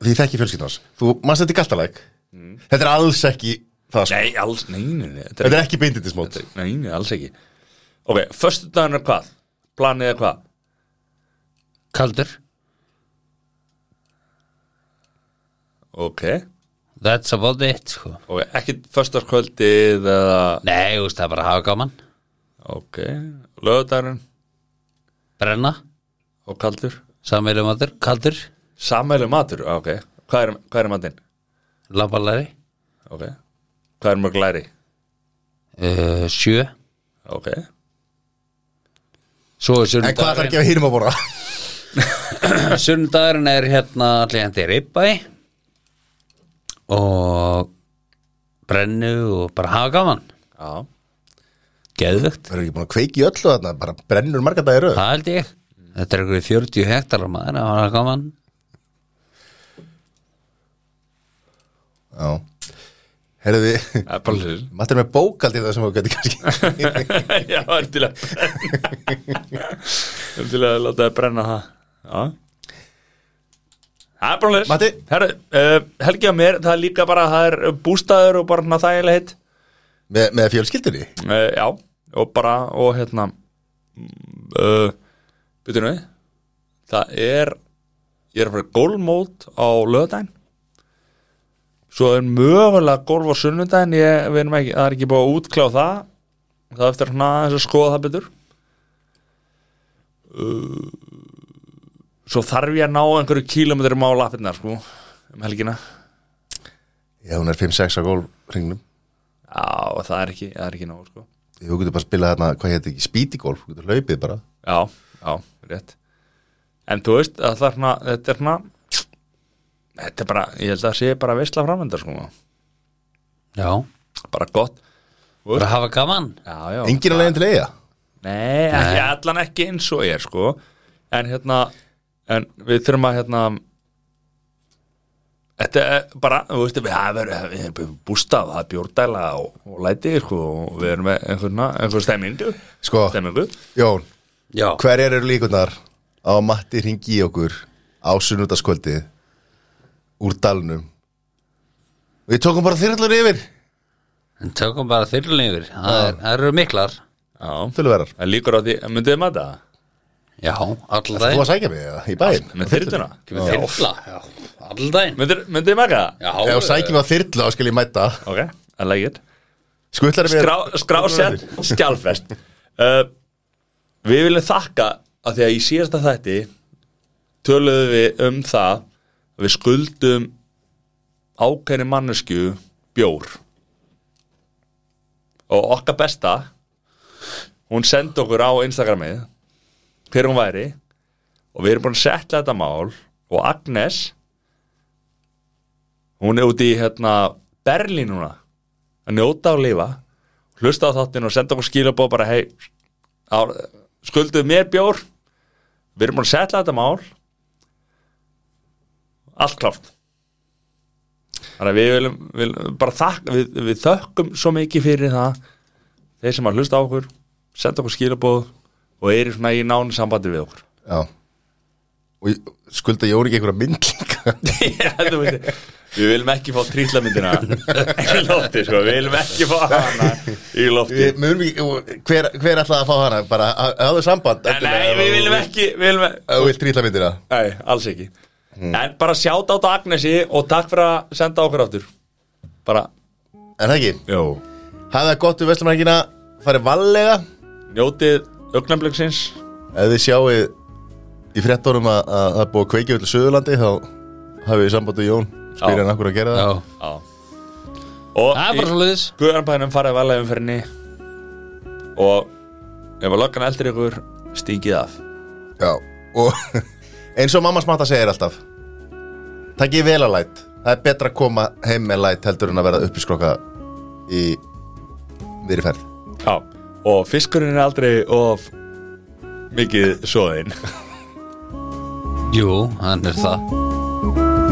því ég þekki fjölskyldun hans Þú manst þetta í galtalæk Þetta er alls ekki það sko
Nei, alls, nei, nei, nei Þetta
Þetta er ekki bindindismót
Nei, nei, alls ekki Ok, föstu daginn er hvað? Planið er hvað?
kaldur
ok
that's about it sko.
og ekki föstaskvöldið eða
nei, þú veist, það er bara að hafa gaman
ok, lögudagurinn
brenna,
og kaldur
samveilum aður, kaldur
samælu matur, ah, ok hvað er, hvað er matinn?
lambalari,
ok, hvað er mörg læri?
uh, sjö
ok,
svo er
En hvað þarf
sunnudagurinn
ekki að hýrum að [laughs] borra?
Sunnudagurinn er hérna allir hendi ribbæ og brennu og bara hafa gaman
já
geðvögt,
Það eru ekki búin að kveiki í öllu þarna, bara brennur marga dagir
það held ég þetta er einhverju 40 hektarar maður að hafa gaman
Já Herðu [laughs] þið,
það er bara hlut
maður er með bókald í það sem þú getur kannski
[laughs]
[laughs]
já, það er til að það er til að láta það brenna það já það er bara hlut
Matti?
Herru, uh, helgi á mér, það er líka bara það er bústaður og bara hérna þægilega hitt
með, með fjölskyldinni
uh, já, og bara og hérna uh, byrju nú við það er ég er að fara í gólmót á löðdæn svo er mögulega gólf á sunnudæn ég, við erum ekki, það er ekki búið að útklá það það er eftir svona aðeins að skoða það betur uh, Eh, svo þarf ég að ná einhverju kílómetrum á lappirnar sko, um helgina
Já, hún er 5-6 á gólfringnum
já, og það er ekki, það er ekki ná sko.
Þú getur bara að spila þarna, hvað hétt ekki, spítigolf Þú getur hlaupið bara
Já, já, rétt En þú veist, að það er svona þetta er svona þetta er bara, ég held að það sé bara veistla framvendar sko,
já,
bara gott
bara hafa gaman
Já, já,
Engin að leiðin til eiga
nei, ekki allan ekki eins og ég er sko en hérna, en við þurfum að hérna Þetta er bara, þú veist, við hafa verið við erum bústað, það er bjórdæla og, og lætið, sko, og við erum með einhverna, einhver stemmingu,
Sko,
stemmingu
Jón,
já,
hverjar eru líkunar á að Matti ringi í okkur á sunnudaskvöldi úr dalnum Við tókum bara þyrlur yfir
en tökum bara þyrlun yfir það, er, það eru miklar
Já,
Tölverðar
það líkur á því, myndið maður það?
já,
Þú
alldægin
að sækja mig eða, í bæinn
Með þyrluna?
þyrla, já, alldægin
Myndir, myndir þið maka það?
já,
Ef þú sækjum að þyrlu á skal ég mæta
Ok, I like it
Skutlar við
Skrá, Skrásett, skjálfest uh, Við viljum þakka að því að í síðasta þætti töluðum við um það að við skuldum ákveðni mannesku bjór og okkar besta hún sendi okkur á Instagramið hver hún væri og við erum búin að setja þetta mál og Agnes hún er úti í hérna Berlín núna að njóta og lifa hlusta á þáttinn og senda okkur skilabóð bara hei, á- skulduðu mér bjór við erum búin að setja þetta mál allt klárt þannig að við viljum, viljum bara þakka, við, við þökkum svo mikið fyrir það þeir sem að hlusta á okkur senda okkur skilabóð og eru svona í nánu sambandi við okkur
Já Og ég- skulda Jón ekki einhverja myndlinga
[laughs] Já, þú veist, við viljum ekki fá trýtlamyndina í lofti sko, við viljum ekki fá hana í lofti
Við munum ekki, og hver, hver ætlaði að fá hana? Bara ha- hafðu samband
Nei, nei, við viljum ekki, við viljum ekki
Þú vilt trýtla myndina
Nei, alls ekki
Hmm.
En bara sjátt á Agnesi og takk fyrir að senda okkur aftur Bara
En það ekki,
Jó.
hafðu það gott um vestlumrækina Farið vallega
Njótið augnamblöksins
Ef þið sjáu í frettunum að að það er búið að kveikja öllu Suðurlandi þá hafið við samband við Jón
Já.
spyrir hann akkur að gera það
já,
Já Og
það er bara
í
svo liðis
Guðanbæðinum farið varlega umferðinni Og ef að lokkan eldir ykkur stingið af
Já, og [laughs] eins og mamma smatta segir alltaf Takk ég vel að læt Það er betra að koma heim með læt heldur en að verða uppiskrokka í miðri ferð
Já Og fiskurinn er aldrei of mikið svoðinn
jú, hann er það